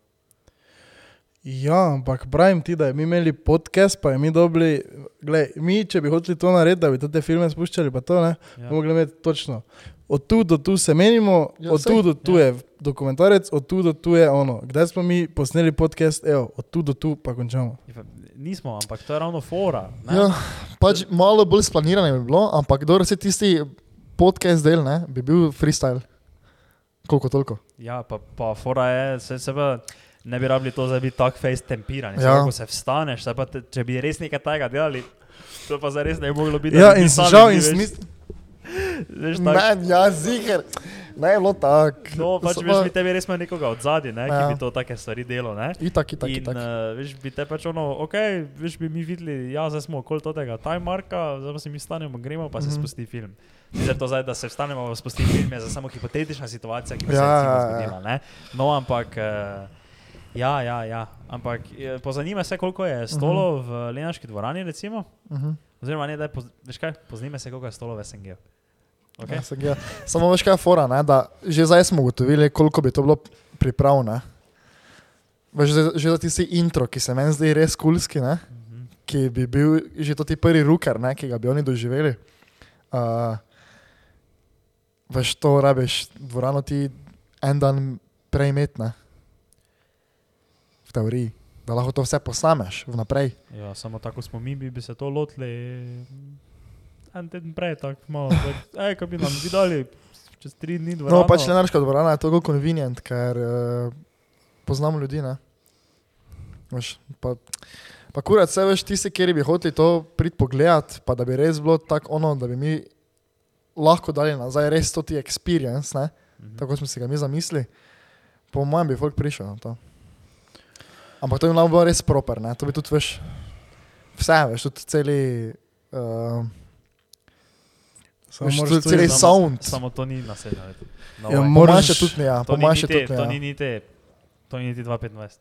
Ja, ampak pravim ti, da bi mi imeli podcast, pa bi mi dobili, gled, mi, če bi hoteli to narediti, da bi te filme spuščali, pa to ne,
Ja.
ja. mogli imeti točno. Od tu do tu se menimo,
Ja,
ja, od
saj,
tu do tu
ja.
ja. je dokumentarec, od tu do tu je ono. Kdaj smo mi posneli podcast, evo, od tu do tu pa končamo.
Ja, pa Nismo, ampak to je ravno fora. ne.
Ja, pač malo bolj splanirano bi bilo, ampak dobro se tisti podcast del, ne, bi bil freestyle. Koliko toliko.
Ja, pa, pa fora je, se, se pa ne bi rabili to, da bi tako face tempirani.
Ja.
Ja. Ko se vstaneš, saj pa te, če bi res nekaj tega delali, to pa zares ne bi moglo biti. da
Ja,
bi
in
pisali
žal,
ljudi,
in
veš.
smisel.
Veš, tako,
Man, ja, ziger. Ne, je bilo tako.
No, pač
So
veš,
pa-
bi tebi res imel nekoga od zadaj, ne, ki
Ja.
bi to take stvari delal. Ne?
Itak, itak,
In
itak.
uh, veš, bi te pač ono, ok, veš, bi mi videli, ja, zdaj smo okoli tega timemarka, zdaj pa se mi stanemo, gremo pa se
Mhm.
spusti film. Zdaj to zdaj, da se vstanemo, pa spusti film, je za samo hipotetična situacija, ki bi se
Ja,
recimo
ja, ja.
zgodila. Ne? No, ampak. Uh, Ja, ja, ja, ampak eh, pozanima se, koliko je stolo v Lenaški dvorani, recimo.
Mhm.
Oziroma, ne, daj, poz, veš kaj, pozanima se, koliko je stolo v SNG. Okay?
Ja, se gleda. Samo veš, kaj je fora, ne? da že zdaj smo ugotovili, koliko bi to bilo pripravljeno. Veš, že, že za tisti intro, ki se meni zdi res kulski, ne?
Mhm.
ki bi bil že to ti prvi ruker, ne? ki ga bi oni doživeli. Uh, veš, to rabiš, dvorano ti en dan prej imeti, ne? v teoriji, da lahko to vse posnameš vnaprej.
Ja, samo tako smo mi, bi, bi se to lotili. En teden prej, tako malo. tako, Ej, kaj bi nam videli, čez tri dni, dva.
No, pač lenarška dvorana je tako konvenient, ker uh, poznamo ljudi. ne. Veš, pa, pa kurat se veš tisti, kjer bi hoteli to prid pogledat, pa da bi res bilo tako ono, da bi mi lahko dali nazaj res to ti experience, ne?
Mhm.
tako kot smo si ga mi zamislili. Po mojem bi folk prišel na to. Ampak to bi nam bilo res proper, ne? to bi tudi veš, vse veš, tudi celi, uh,
Samo
veš,
moraš
tudi
tu
celi
iz-
samo-
sound.
Samo to ni nasedno leto. No,
Ja,
way.
mo-
Po mojem
moraš-
še tudi ne, ja,
to,
po
ni
mojem
niti,
še tudi
to ni
ne. ja.
niti, to ni niti 2.25.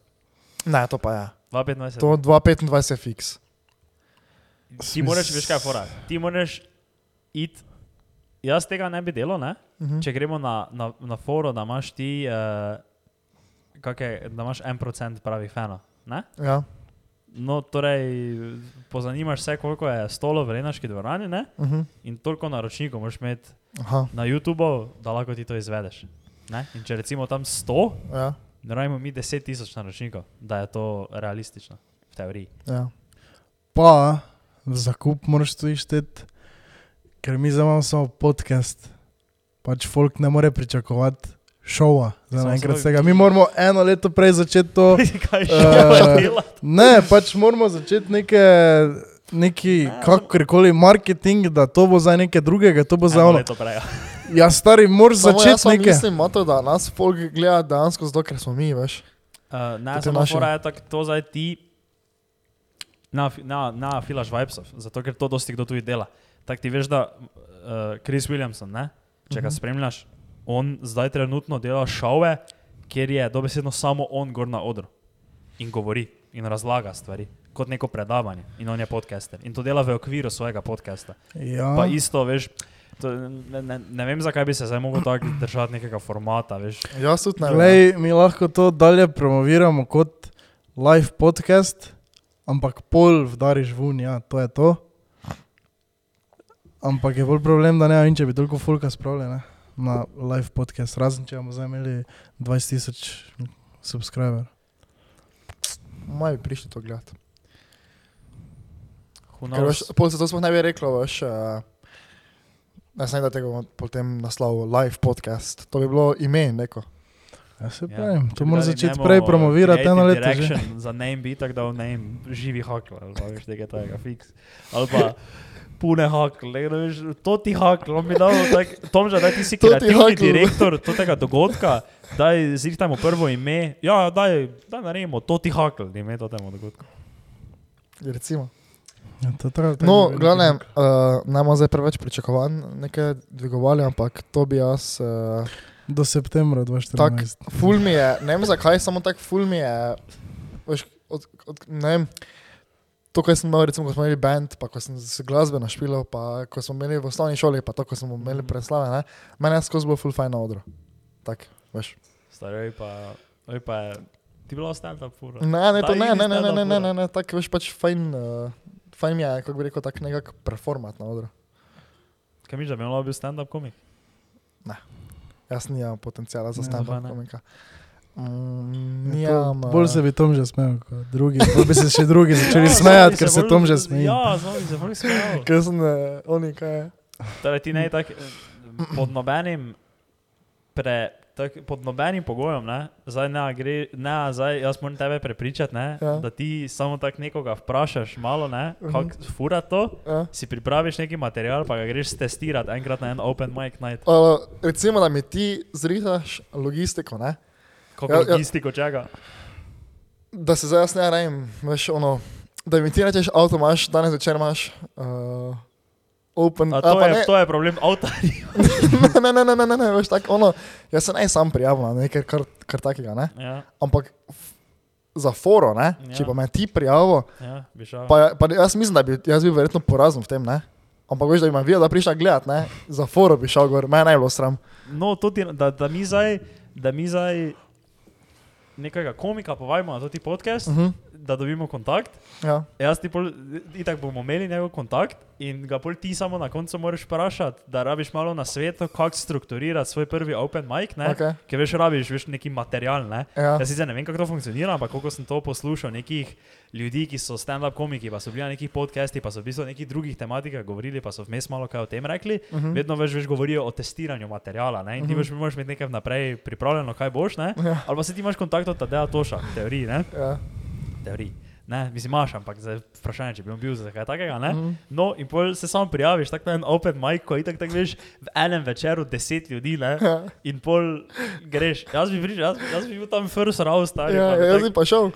Ne, to pa je. Ja.
2.25.
To 2,25 je fiks.
Ti moraš, veš kaj, je fora. Ti moraš iti. Jaz tega ne bi delal, ne?
Mhm.
Če gremo na, na, na foro, da imaš ti, uh, kake, da imaš 1% pravih fanov, ne?
Ja.
No, torej, pozanimaš se, koliko je stolo v Lenaški dvorani ne?
Uh -huh.
in toliko naročnikov moraš imeti
Aha,
na YouTubu, da lahko ti to izvedeš. Ne? In če recimo tam 100,
ja.
naredimo mi 10 tisoč naročnikov, da je to realistično, v teoriji.
ja.
Pa v zakup moraš tu išteti, ker mi zdaj imamo samo podcast. Pač folk ne more pričakovati šova za
Samo
enkrat
svoj-
vsega. Mi moramo eno leto prej začeti to.
Kaj še
Eh,
uh, delati?
Ne, pač moramo začeti neke, neki,
Ne,
kakorkoli marketing, da to bo za nekaj drugega, to bo za
Eno
ono.
leto prej.
Ja, stari, moraš
Samo jaz
začeti
samo
nekaj.
Mislim, Mato, da nas folk gleda dejansko zato, ker smo mi, veš.
Uh, ne,
Tudi
samo
naši.
fora je tako, to zdaj ti na, na, na filaš vibesov, zato ker to dosti kdo tudi dela. Tako ti veš, da uh, Chris Williamson, ne? če ga
Mhm.
spremljaš, on zdaj trenutno dela šove, kjer je dobesedno samo on gor na odru in govori in razlaga stvari. Kot neko predavanje, in on je podcaster. In to dela v okviru svojega podcasta.
Ja,
Pa isto, veš, to, ne, ne, ne vem, zakaj bi se zdaj mogel tako držati nekega formata. Veš.
Jaz tudi ne. ja. vem.
Glej, mi lahko to dalje promoviramo kot live podcast, ampak pol vdariš vun, ja, to je to. Ampak je bolj problem, da ne vem, če bi toliko folka spravili ne, na live podcast, razen če bomo zdaj imeli 20 tisoč subscriber.
Maj bi prišli to gledati.
Who
Ker veš,
knows?
pol se to sploh ne bi reklo, veš. Uh, ne smem, da tega bom potem naslov live podcast. To bi bilo ime neko.
Ja, se
Ja.
pravim, ja.
Če
to
bi
moraš
dali
začeti
njemu
prej promovirati, eno
creative
leto že.
direction Za name bi tako dal name živi hakl, ali pa veš nekaj takega, fiks. Ali pa pune hakl, ne ne veš, to ti hakl, on bi dal tak, Tomža, daj ti si
To ti
kreativni
hakl.
direktor to tega dogodka, daj zrihtamo prvo ime, ja, daj, daj naredimo, to ti hakl, ime to temu dogodku.
Recimo.
Ja, to tako- tako
No,
bi bilo
glavnem,
nekako.
uh, ne bomo zdaj preveč pričakovanj nekaj dvigovali, ampak to bi jaz. Uh,
Do septembra 2014.
Ful mi je, ne vem zakaj, samo tako ful mi je. Veš, od, od, ne vem, to, kar sem imel, recimo, ko smo imeli band, pa ko sem se glasbeno špilo, pa ko smo imeli v osnovni šoli, pa to, ko smo imeli preslave, ne, meni je skozi bilo ful fajn na odru. Tak, veš.
Staraj pa, oj pa, je- ti bilo stand up fura.
Mm.
Ne, ne, to
Daj,
ne,
idi
ne, ne, ne,
stand-up
ne, ne,
ura.
ne, ne tako veš pač fajn, uh, fajn mi je, kako bi rekel, tak nekak performat na odru.
Kaj misliš, da bi lahko bil stand up komik?
Jaz nimam potencijala za
Ne,
zakaj
stand-up
ne?
komika. Mm,
Ja, to-
nijam,
bolj
eh,
se bi tom že smejal, kot drugi. Bolj bi se še drugi začeli
Ja,
smejati,
znali
ker se
bolj-
tom že smeji.
Ja, znali se bolj smejal.
Ker sem, eh, oni kaj je.
Torej, ti ne tak eh, pod nobenim pre, tak, pod nobenim pogojem, ne, zdaj ne gre, ne, zdaj jaz moram tebe prepričati, ne,
Ja.
ja. da ti samo tako nekoga vprašaš, malo, ne,
Mhm.
kako fura to,
Ja.
si pripraviš neki material, pa ga greš testirati enkrat na en open mic night,
Uh, recimo, da mi ti zrihtaš logistiko, ne?
kako
Ja,
ja,
ja.
logistiko ja. čega.
da se zdaj jaz ne rajem, veš, ono, da mi ti rečeš, avto imaš, danes večer imaš uh, open,
A
ali
to,
Mm, pa
je,
ne,
to je problem avta.
ne, ne, ne, ne, ne, ne, veš, tako ono, jaz se naj sam prijavim na nekaj kar, kar takega, ne?
ja,
Ampak f- za foro, ne? Ja.
Ja.
Če pa me ti prijavo,
ja, bi šel.
Pa, pa jaz mislim, da bi, jaz bi verjetno porazen v tem, ne? Ampak veš, da bi me videl, da prišla gledat, ne? Za foro bi šel gor, mene je bilo sram.
No, to ti, da, da mi zdaj, da mi zdaj nekega komika povabimo na to ti podcast, uh
Mhm.
-huh. da dobimo kontakt.
Ja.
Jaz ti pol, itak bomo imeli njegov kontakt in ga pol ti samo na koncu moraš vprašati, da rabiš malo na svetu, kako strukturirati svoj prvi open mic, ne?
Okej.
Ker veš, rabiš veš neki material, ne?
Ja.
Jaz sicer ne vem, kako to funkcionira, ampak koliko sem to poslušal nekih ljudi, ki so stand-up komiki, pa so bili na nekih podcastih, pa so v bistvu o nekih drugih tematikah govorili, pa so vmes malo kaj o tem rekli. Uh
Mhm.
-huh. Vedno več veš govorijo o testiranju materijala, ne? In ti uh -huh. veš, moraš imeti nekaj naprej pripravljeno, kaj boš, ne?
Ja.
Ali pa se ti imaš kontakt od Tadeja Toša, v teoriji, ne?
Ja.
teorij. Ne, mislim, imaš, ampak zdaj vprašanje, če bi on bil za kaj takega. Ne?
Mhm.
No, in pol se sam prijaviš, tako na en open mic, ko itak tako veš, v enem večeru deset ljudi, ne?
Ja.
in pol greš. Jaz bi, prišel, jaz, jaz bi bil tam first round, stari.
Ja,
pa bi
jaz
tako-
bi pa šel.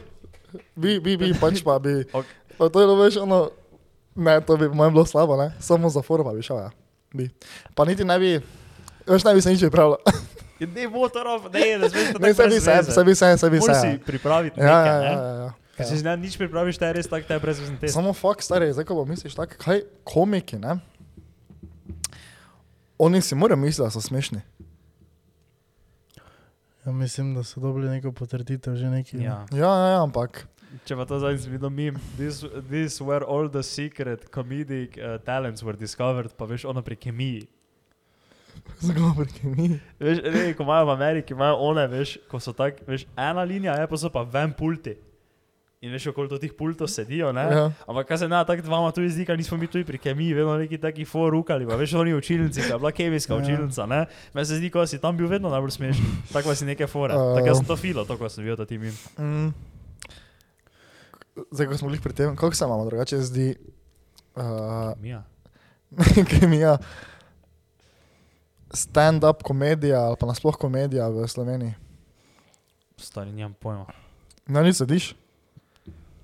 Bi, bi, bi, pač pa bi.
Ok.
Pa to je bilo, veš, ono, ne, to bi po mojem bilo slabo, ne? Samo za foro pa bi šel, ja. Bi. Pa niti ne bi, veš, ne bi se nič pripravljal.
Ja, Ne bo to rob, ne, ne smeš to
Ne,
tako
sebi
brez
se,
veze.
sebi se, sebi se.
Moraš
ja.
si pripraviti
Ja,
nekaj,
ja,
ne?
ja, ja, ja.
Ker če si ne, nič pripraviš, te je res tako, te je brezvezen test.
Samo fakt, stari, zdaj ko pa misliš tako, kaj komiki, ne? Oni si morajo misliti, da so smešni.
Ja, mislim, da so dobili neko potrditev že neki.
Ja.
Ja, ja, ja ampak
Če pa to zdaj zvidim, mim, this, this where all the secret comedic uh, talents were discovered, pa veš ono pri kemiji.
Zgovor, ki mi.
Veš, ne, ko imajo v Ameriki, imajo one, veš, ko so tako, veš, ena linija, je pa so pa ven pulti. In veš, okoli to tih pultov sedijo, ne?
Ja.
Ampak kaj se na tak dvama tu izdi, kaj nismo mi tu pri kemiji, vedno neki taki forukali, pa veš, oni učilnici, ki je bila kemijska
Ja.
ja. učilnica, ne? Meni se zdi, ko si tam bil vedno najbolj smešen, tako si neke fore.
Ja.
Uh. Tako jaz sem to filo, to, ko sem bil ta tim.
Mm. Zdaj, ko smo bili pri tem, kako se imamo drugače zdi uh,
Mija.
kemija, stand-up komedija ali pa nasploh komedija v Sloveniji.
Stari, nimam pojma.
Na nič sediš?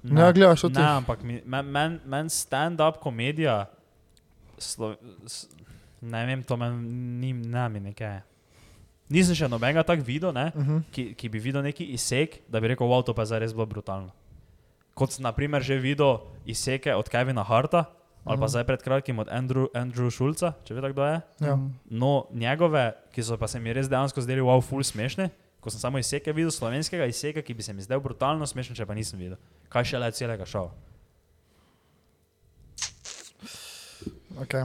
Ne, gledaš to ti?
Ne, ampak mi- men- men, men stand-up komedija, slo, s, ne vem, to meni ni nami nekaj. Nisem še nobenega tak videl, ne,
Uh -huh.
ki, ki bi videl neki izsek, da bi rekel, wow, to pa je zdaj res bilo brutalno. Kot sem naprimer že videl izseke od Kevina Harta, ali pa
Mhm.
zdaj pred kratkim od Andrew, Andrew Šulca, če ve kdo je.
ja.
No, njegove, ki so pa se mi res dejansko zdeli, wow, ful smešne. Ko sem samo izseke videl, slovenskega izseka, ki bi se mi zdel brutalno smešen, če pa nisem videl. Kaj še le celega šova?
okay.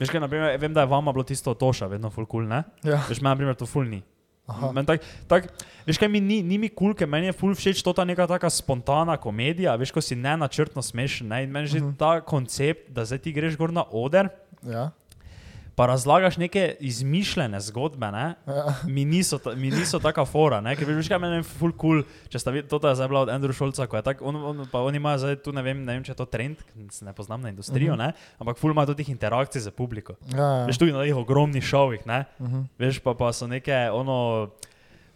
Veš, kaj, naprimer, vem, da je vama bilo tisto toša, vedno ful kul, cool, ne?
ja.
Veš, meni, na primer, to ful ni.
Aha.
Meni Tak, tak, veš, kaj mi ni, ni mi kul, cool, ker meni je ful všeč to ta neka taka spontana komedija, veš, ko si ne načrtno smešen, ne? In meni že uh
Mhm.
-huh. ta koncept, da zdaj ti greš gor na oder,
Ja.
pa razlagaš neke izmišljene zgodbe, ne?
Ja.
mi niso, ta, mi niso taka fora, ne? ker veš, kaj meni je ful kul, cool, če sta videla, to je zdaj bila od Andrew Šolca, ko je tako, on, on, pa oni imajo zdaj tu, ne vem, ne vem, če je to trend, ker se ne poznam na industrijo, uh -huh. ne? ampak ful ima tudi interakcij z publiko.
Ja, ja.
Veš, tudi na teh ogromnih šovih, ne?
Uh -huh.
Veš, pa, pa so neke, ono,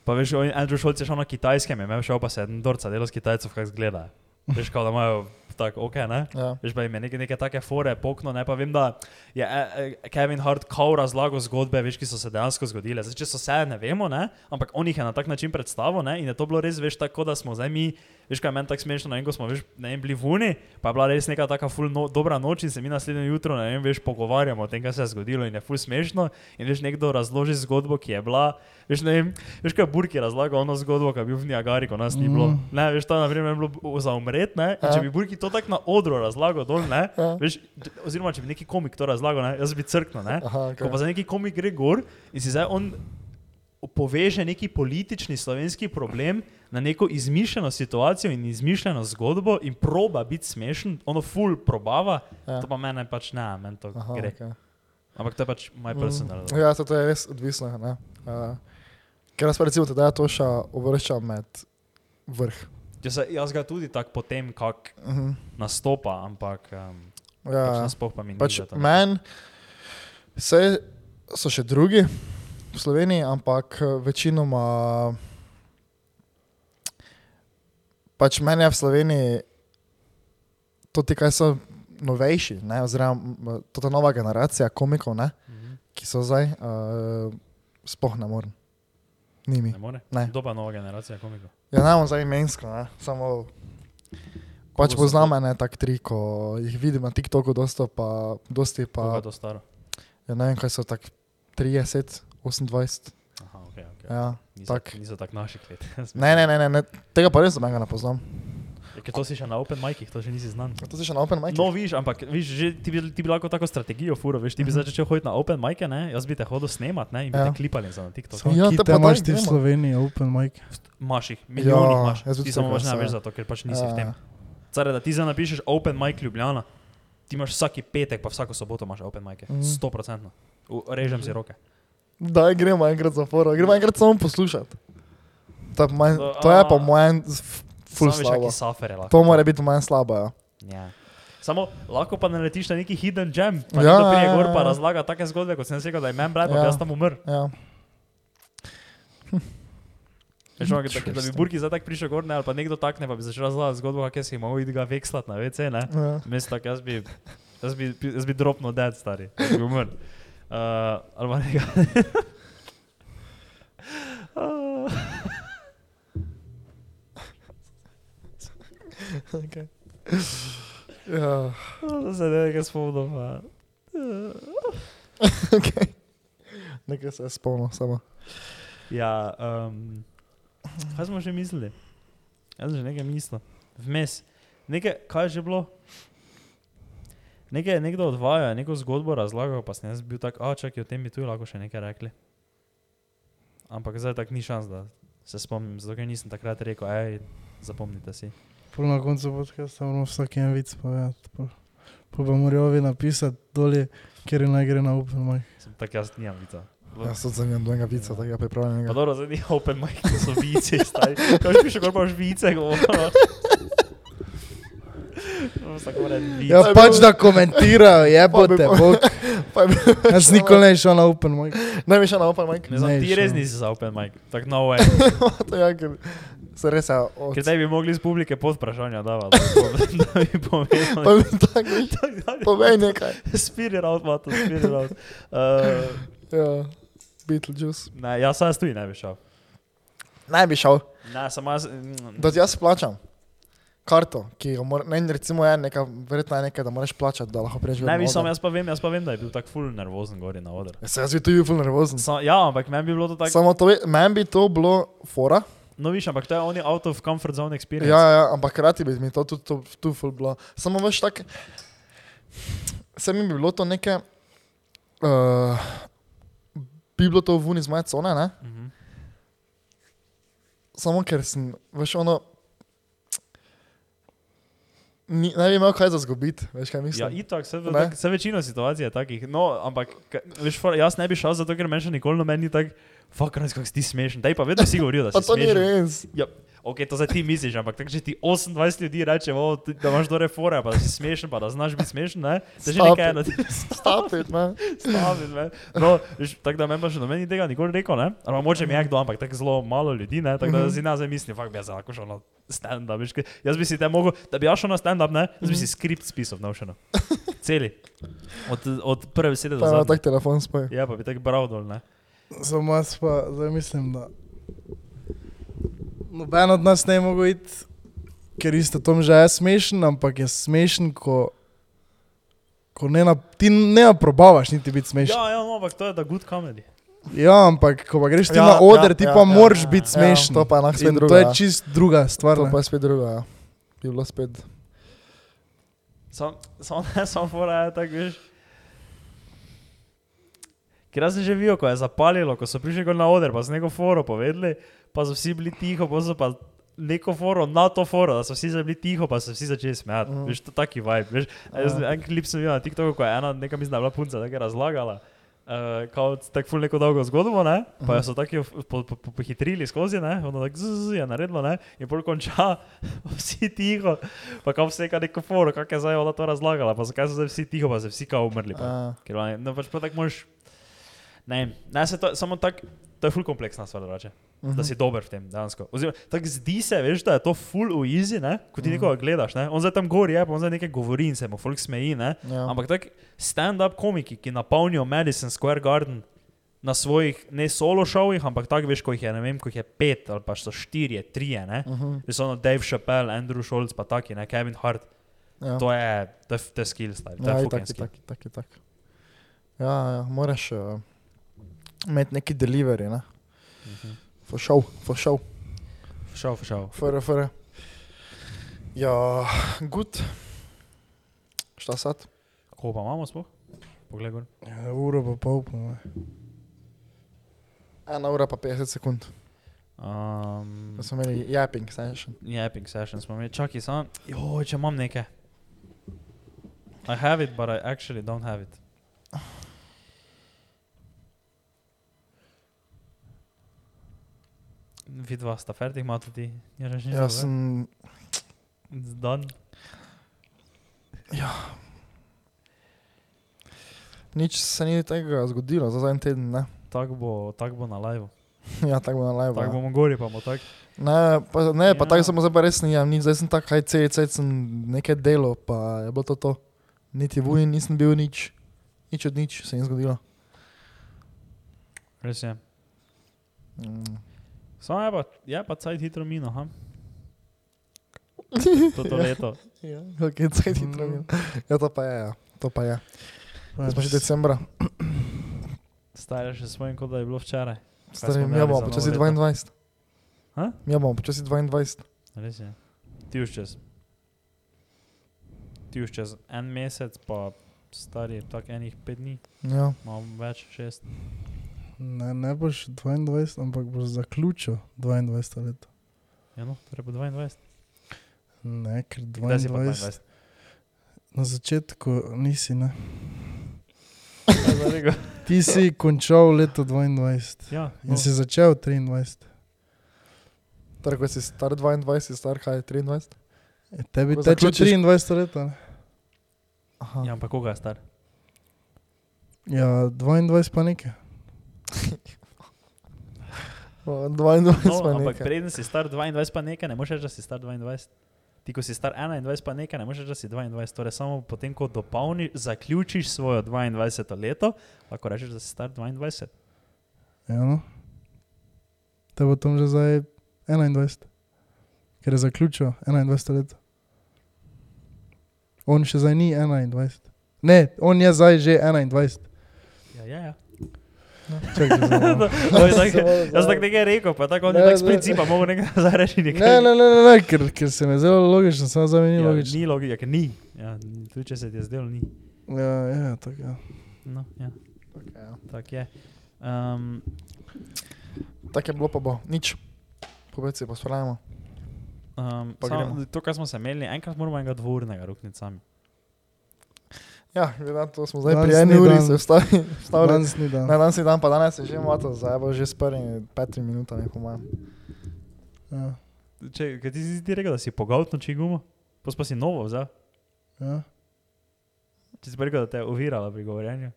pa veš, on- Andrew Šolc je šel na kitajskem, je imel šel pa se en dorca delo s kitajcev, kak zgleda. Veš, kao da imajo tako, ok, ne?
ja.
Veš, pa jim je neke, neke take fore pokno, ne pa vem, da je eh, eh, Kevin Hart kao razlago zgodbe, veš, ki so se dejansko zgodile. Zdaj, če so se, ne vemo, ne? ampak on jih je na tak način predstavil ne? in je to bilo res, veš, tako da smo zdaj mi, veš, kaj je meni tako smešno, ne vem, ko smo, veš, ne vem, bili v Uni, pa je bila res neka taka ful no, dobra noč in se mi naslednjo jutro, ne vem, veš, pogovarjamo o tem, kaj se je zgodilo in je ful smešno in veš, nekdo razloži zgodbo, ki je bila, veš, ne vem, veš, kaj je Burki razlagal ono zgodbo, ki je bil v Niagari, ko nas ni bilo.
Mm.
Ne, veš, to je na primer bilo b- za umret, ne, in
Ja.
če bi Burki to tako na odru razlagal dol, ne,
Ja.
veš, d- oziroma če bi neki komik to razlagal, ne, jaz bi crknil, ne,
Aha, okay.
ko pa za neki komik gre gor in si zdaj on poveže neki politični slovenski problem na neko izmišljeno situacijo in izmišljeno zgodbo in proba biti smešen, ono full probava,
Ja.
to pa mene pač ne, meni to
Aha,
gre.
okay.
Ampak to je pač my personal.
Mm, ja, to, to je res odvisno. ne. Uh, ker jaz pa recimo tedaj Toša uvrščam med vrh.
Jaz, se- jaz ga tudi tako potem, kako
Uh -huh.
nastopa, ampak um,
ja,
pač
ja.
nasploh pa mi ni
Pač
za to.
Meni se- so še drugi v Sloveniji, ampak eh, večinoma. Pač meni je v Sloveniji to, ti, kaj so novejši, ne, oziroma eh, to ta nova generacija komikov, ne,
Mhm.
ki so zdaj, uh, spoh ne morem. Nimi.
Ne more?
Ne.
Doba nova generacija komikov.
Ja, ne bom zdaj imensko, ne? samo. Pač
Koga so
poznam
to?
ene tak tri, ko jih vidim na TikToku, dosto pa, dosti pa,
Pa to staro.
ja, ne vem, kaj so tak 30, 28.
Aha, okay, okay.
Ja.
niso,
tak.
niso tako naših let.
Ne, ne, ne, ne, ne, tega pa res nobenega ne poznam.
Ja, ker to si še na open micih, to še nisi znan.
A To si še na Open Mic?
No, viš, ampak viš, že, ti, bi, ti bi lahko tako strategijo furo, veš, ti bi
Mhm.
začel hoditi na open mike, ne? jaz bi te hodil snemat ne? in bi
Ja.
te klipali za na TikTok.
Samo
Ja,
ja,
te
kite
pa daj,
imaš ti v
gremo.
Sloveniji, open mic.
Imaš jih, milijon jih
Ja,
imaš,
jaz bi
ti samo
tega
pač ne
se-
veš zato, ker pač nisi v tem.
Ja,
Care, da ti zdaj napišeš open mic Ljubljana, ti imaš vsaki petek pa vsako soboto imaš open mic,
Mhm.
100%. U- Režem si roke.
Eh, Daj, gremo enkrat za foro, gremo enkrat samo poslušati. To, je po mojem-
No,
to je pa
a-
moje, ful slabo.
slabo.
To mora biti moje slabo, ja.
Ja. Samo lahko pa naletiš na neki hidden gem, pa
Ja,
ja, nekdo prije
ja,
gor pa
ja.
razlaga take zgodbe, kot sem si rekel, da je meni brat,
Ja.
pa jaz tam umrl.
ja.
Veš, ono, da, da bi Burki zdaj tako prišel gor, ne, ali pa nekdo tak ne, pa bi začel razlagati zgodbo, kako je si imel id ga vekslat na WC, ne.
ja.
Mesto tak, jaz bi, jaz bi, jaz bi dropno dead, stari, jaz bi umrl. Uh, ali pa nekaj. Ah.
ja.
To se ne nekaj spomnim. a.
Okay. Nekaj se je spomnil, samo.
Ja, um, kaj smo že mislili? Jaz sem že nekaj mislil. Vmes. Nekaj, kaj je že bilo? Nekaj je nekdo odvajal, neko zgodbo razlagal, pa sem jaz bil tak, a čakaj, o tem bi tu lahko še nekaj rekli. Ampak zdaj tak ni šans, da se spomnim, zato ker nisem takrat rekel, hej, zapomnite si.
Pol na koncu podcasta moramo vsak en vic povedati. pol- Pol pa morajo ovi napisati dolje, kjer naj gre na open mic.
Sem tak jaz nimam vica.
Ja, sem za njim dvojnega pica, tako je
Pa
pripravljenega.
dobro, zdaj ni open mic, to so vice, stari. Kaj bi še kar pa žvice govoril? Vsak mora biti.
Ja, pač da komentirajo,
Pa
jebote,
bi-
bog.
Pa je bil
Jaz nikoli ne bi šel na open mic.
največ še na Open Mic.
Ne, znam,
Ne,
ti
še
res
ne.
nisi za open mic, tako no way.
to je, ja, ker se res ja, je od...
Ker zdaj bi mogli iz publike pod vprašanja davati, da bi- da bi
Pa
povedali.
bi tako, povej nekaj.
Spirit out, mato, spirit out. Uh,
Ja, Beetlejuice.
ne, jaz sem tudi ne bi šel.
Naj bi šel,
Ne, samo jaz. mm,
da ti jaz plačam. Karto, ki jo moraš, ne, recimo je neka, verjetno je nekaj, da moraš plačati, da lahko prejš.
Ne bi sam, jaz pa vem, jaz pa vem, da je bil tako full nervozen gori na odru.
Ja, Jaz sem jaz bil tudi ful nervozen.
Sam, ja, ampak meni bi bilo to tako.
Samo to, ve- meni bi to bilo fora.
No, viš, ampak to je oni out of comfort zone experience.
Ja, ja, ampak hkrati bi mi to tudi tu- tu ful bilo. Samo veš, tako. Se mi bi bilo to neke. Uh, bi bilo to vun iz moje cone, ne?
Mhm.
Samo ker sem, veš, ono. Ni, ne bi imel kaj za zgubiti, veš kaj
Ja,
mislim.
itak, se,
Ne?
tak, se večino situacij je takih. No, ampak, ka- veš, for, jaz ne bi šel, zato ker meni še nikoli noben ni tako, fuck, res, kako si ti smešen. Daj pa vedno si govoril, da
pa
si
to ni
smešen.
res.
Ja, ok, to zdaj ti misliš, ampak tako, če ti 28 ljudi reče, "O, ti- da imaš dobre fore, pa da si smešen, pa da znaš biti smešen, ne? To je že
Stop
nekaj,
it.
da ti
Stop it, man.
stavi. ne. No, veš, tako da meni pa še noben ni tega nikoli rekel, ne? Ali moče mi je kdo, ampak tako zelo malo ljudi, ne? Tako
Mhm.
da si ne zdaj mislim, fakt bi jaz lahko šel na stand-up, veš, kaj- jaz bi si te mogel, da bi jaz šel na stand-up, ne? Jaz bi
Mhm.
si skript spisal, naučeno. Celi. Od, od prve besede do
Pa ima tak
zadnje.
telefon spoj.
Ja, pa bi tako bral dol, ne?
Samo jaz pa zdaj mislim, da noben od nas ne more iti, ker isto tom že je smešen, ampak je smešen, ko, ko ne na, ti ne aprobavaš niti biti smešen.
Ja, ja, no, ampak to je da good comedy.
Ja, ja ampak ko pa greš ti
Ja,
ja, na oder,
ja,
ja, ti
ja,
ja, pa
ja,
ja, moraš
ja.
ja, biti
Ja,
smešen.
to pa je lahko spet
In
drugo,
To je
ja.
čist druga stvar.
To
ne.
pa je spet drugo, ja. Bi bilo spet.
Sam, samo ne, samo fora je tako, veš. Ker jaz sem že videl, ko je zapalilo, ko so prišli gor na oder, pa so neko foro povedali, pa so vsi bili tiho, pa so pa neko foro, na to foro, da so vsi zdaj bili tiho, pa so vsi začeli smejati.
Mm.
Mm. Veš, to taki vibe. Veš, A jaz,
Ja.
en klip sem videl na TikToku, ko je ena neka mislim, da je bila punca, tako je razlagala. Uh, kao tako ful neko dolgo zgodbo, ne? pa jo so tako po, po, po, pohitrili skozi, ne? ono tako zzzz je naredilo ne? in pol konča, vsi tiho, pa kao vse ka neko foro, kak je zdaj ona to razlagala, pa zakaj so zdaj vsi tiho, pa so vsi kao umrli. Pa.
A,
Ker ona je- no, pač pa tako moraš. Ne, vem, ne se to, samo tako, to je ful kompleksna stvar, drugače,
Mhm.
uh -huh. da si dober v tem dejansko. Oziroma, tako zdi se, veš, da je to ful v easy, ne,
Mhm.
ko ti uh -huh. nekoga gledaš, ne, on zdaj tam gori, je, pa on zdaj nekaj govori in se mu folk smeji, ne.
ja.
Ampak tako stand-up komiki, ki napolnijo Madison Square Garden na svojih ne solo šovih, ampak tako veš, ko jih je, ne vem, ko jih je pet ali pa so štirje, trije, ne. Uh
Mhm.
-huh. Veš, ono Dave Chappelle, Andrew Schultz, pa taki, ne, Kevin Hart.
Ja.
To je, to je, to je skill, stari, to je
Ja,
fucking
tako,
skill.
tako, tako, tako. Ja, ja, moraš uh, imeti neki delivery, ne?
Mhm.
For show, for show,
Šel, šel.
for, for. Ja, gut. Šta sad?
Koliko pa imamo sploh? Poglej, gor.
Ja, uro pa pol, po moje.
Ena ura pa 50 sekund.
Um,
Da smo imeli japping session.
ja, epic session smo imeli. Čakaj, samo, joj, če imam nekaj. I have it, but I actually don't have it. Vidva sta fertig, ima tudi. Ja, že eh?
Ja, sem,
Zdan.
nič se ni tega zgodilo za zadnji teden, ne?
Tako bo, tak bo na live.
Ja, tako bo na live.
Tako
ja.
bomo gori, pa bomo tako.
Ne, pa, ne, pa
Ja.
tako samo zdaj pa res nisem, nič, zdaj sem tak, kaj cel, cel sem nekaj delo, pa je bilo to to. Niti vujen nisem bil nič, nič od nič se ni zgodilo.
Res je.
Mm.
Samo je pa, je pa cajt hitro mino, ha? Toto leto.
Ja, ok, cel hitro. Mm. Ja, to pa je, ja. to pa je.
Pač
Zdaj smo že decembra,
Stare še svojim, kot da je bilo včeraj. smo
stari, mi
delali
bomo
za novo
počasi
leto?
22.
Ha?
Mi bomo počasi 22.
Res je. Ti už čez. Ti už čez en mesec, pa stari tak enih pet dni,
Ja,
malo več, šest.
Ne, ne boš 22, ampak boš zaključil 22 let.
Ja, no, torej bo 22.
Ne, ker
Kdaj si pa
22. Na začetku nisi, ne.
22?
Ti si končal leto 22
ja, no.
in si začel 23.
torej ko si star 22, si star kaj 23?
E, tebi
Ko
teče
zaključiš-
23 let. ne?
Aha.
ja, ampak koga je star?
Ja, 22 pa nekaj.
O, 22
No,
smo
ampak
nekaj.
preden si star 22, pa nekaj, ne moreš reči, da si star 22. Ti, ko si star 21, pa nekaj, ne moreš reči, da si 22. Torej, samo potem, ko dopolniš, zaključiš svojo 22 leto, lahko rečeš, da si star 22.
Ja, no. Te bo tam že zdaj 21, ker je zaključil 21 let. On še zdaj ni 21. Ne, on je zdaj že 21.
Ja, ja, ja.
Čakaj, zdaj no. malo.
To je tako- Jaz sem tako nekaj rekel, pa tako on je
Ne,
tako s
ne.
principa, mogo nekaj zareči nekaj.
Ne, ne, ne, ne, ne ker, ker se mi je zelo logično, samo za me ni
Ja,
logično.
ni logika, ker ni. Ja, ni- tudi če se ti je zdelo, ni.
Ja, ja, tako ja.
No, ja,
Okay, ja.
tako je. Um,
Tako je bilo pa bo, nič. Pobeci pa spravimo.
um,
Pa
samo,
gremo.
to, kar smo se imeli, enkrat moramo enega dvornega rukniti sami.
Ja, glede na to smo zdaj
Danes
pri eni
ni
uri
dan.
se vstavi- vstavili.
Danes ni dan.
Na danes je dan, pa danes je že malo, zdaj bo že s prvimi petimi minutami, po mojem.
Ja,
Če kaj ti si ti rekel, da si pogavtno čigumo, pos pa si novo vzel.
ja,
Če si pa rekel, da te je ovirala pri govorjenju.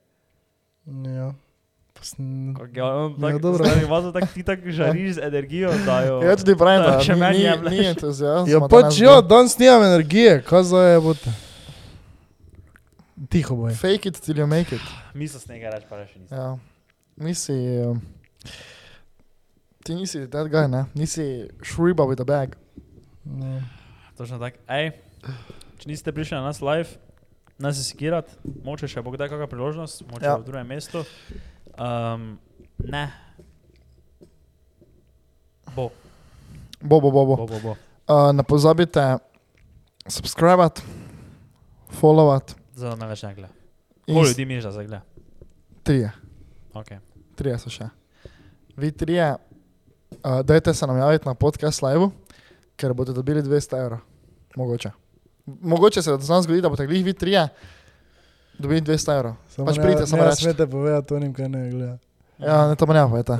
ja. Pa sem-
Kako je on
Ja,
tako
dobro.
zdaj, vazo, tako ti tako žariš z energijo, da jo...
Ja, tudi pravim, da
še
ni-
meni
ni-
jemlješ.
Ni entuzijazma.
Ja, pač
danes
ja,
dan.
danes nimam energije, kaj zdaj je bote. Tiho boj.
Fake it till you make it.
Misel s nekaj reč, pa reči nisem.
Ja. Nisi... eh, Ti nisi that guy, ne? Nisi šriba with a bag.
Ja.
Točno tako. Ej, če niste prišli na nas live, nas je sikirat, moče še bo kdaj kakšna priložnost, moče
Ja.
ja. v drugem mestu. Um, ne. Bo,
Bo, bo, bo, bo.
bo, bo. bo.
Uh, ne pozabite subscribe, followat.
Zdaj me več ne gleda. Koliko ljudi mi je že zdaj gleda?
Trije.
Okay.
Trije eh, so še. Vi trije, uh, dajte se nam javiti na podcast live, ker boste dobili 200 evrov. Mogoče. Mogoče se znam zgoditi, da boste glih vi trije dobili 200 evrov. Pač
ne-
pridite, samo
ne
recite.
smete povedati onim, kaj ne gleda.
Ja, ne, to ne povete.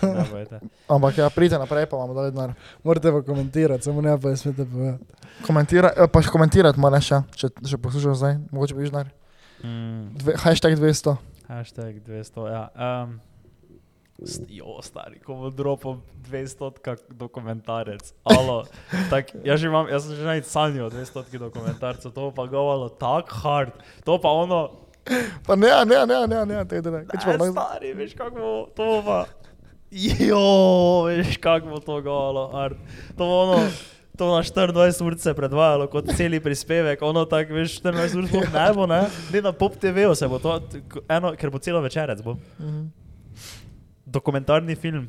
Ja, bojte.
Ampak ja, pridite naprej, pa vam dali denar.
Morate pa komentirati, samo ne pa ne smete povedati.
Komentira, eh, pa še komentirati moraš, ja, če, če poslušaš zdaj, mogoče bi že denar.
Mm.
Dve, hashtag 200.
Hashtag 200, ja. Um, jo, stari, ko bo dropo 200 dokumentarec. Alo, tak, jaz, že imam, jaz sem že naj sanjal 200 dokumentarcev, to bo pa govalo tako hard, to pa ono,
Pa ne, ne, ne, ne, ne, te ne. Kaj če pa
ne,
nekdo-
stari, veš kako bo, to bo pa, jo, veš kako bo to govalo hard. To bo ono, to bo na 24 ur se predvajalo kot celi prispevek, ono tako, veš, 24 ur sploh ne bo, ne, ne na pop TV-u se bo to, t- ko- eno, ker bo celo večerec bo.
Mhm.
dokumentarni film.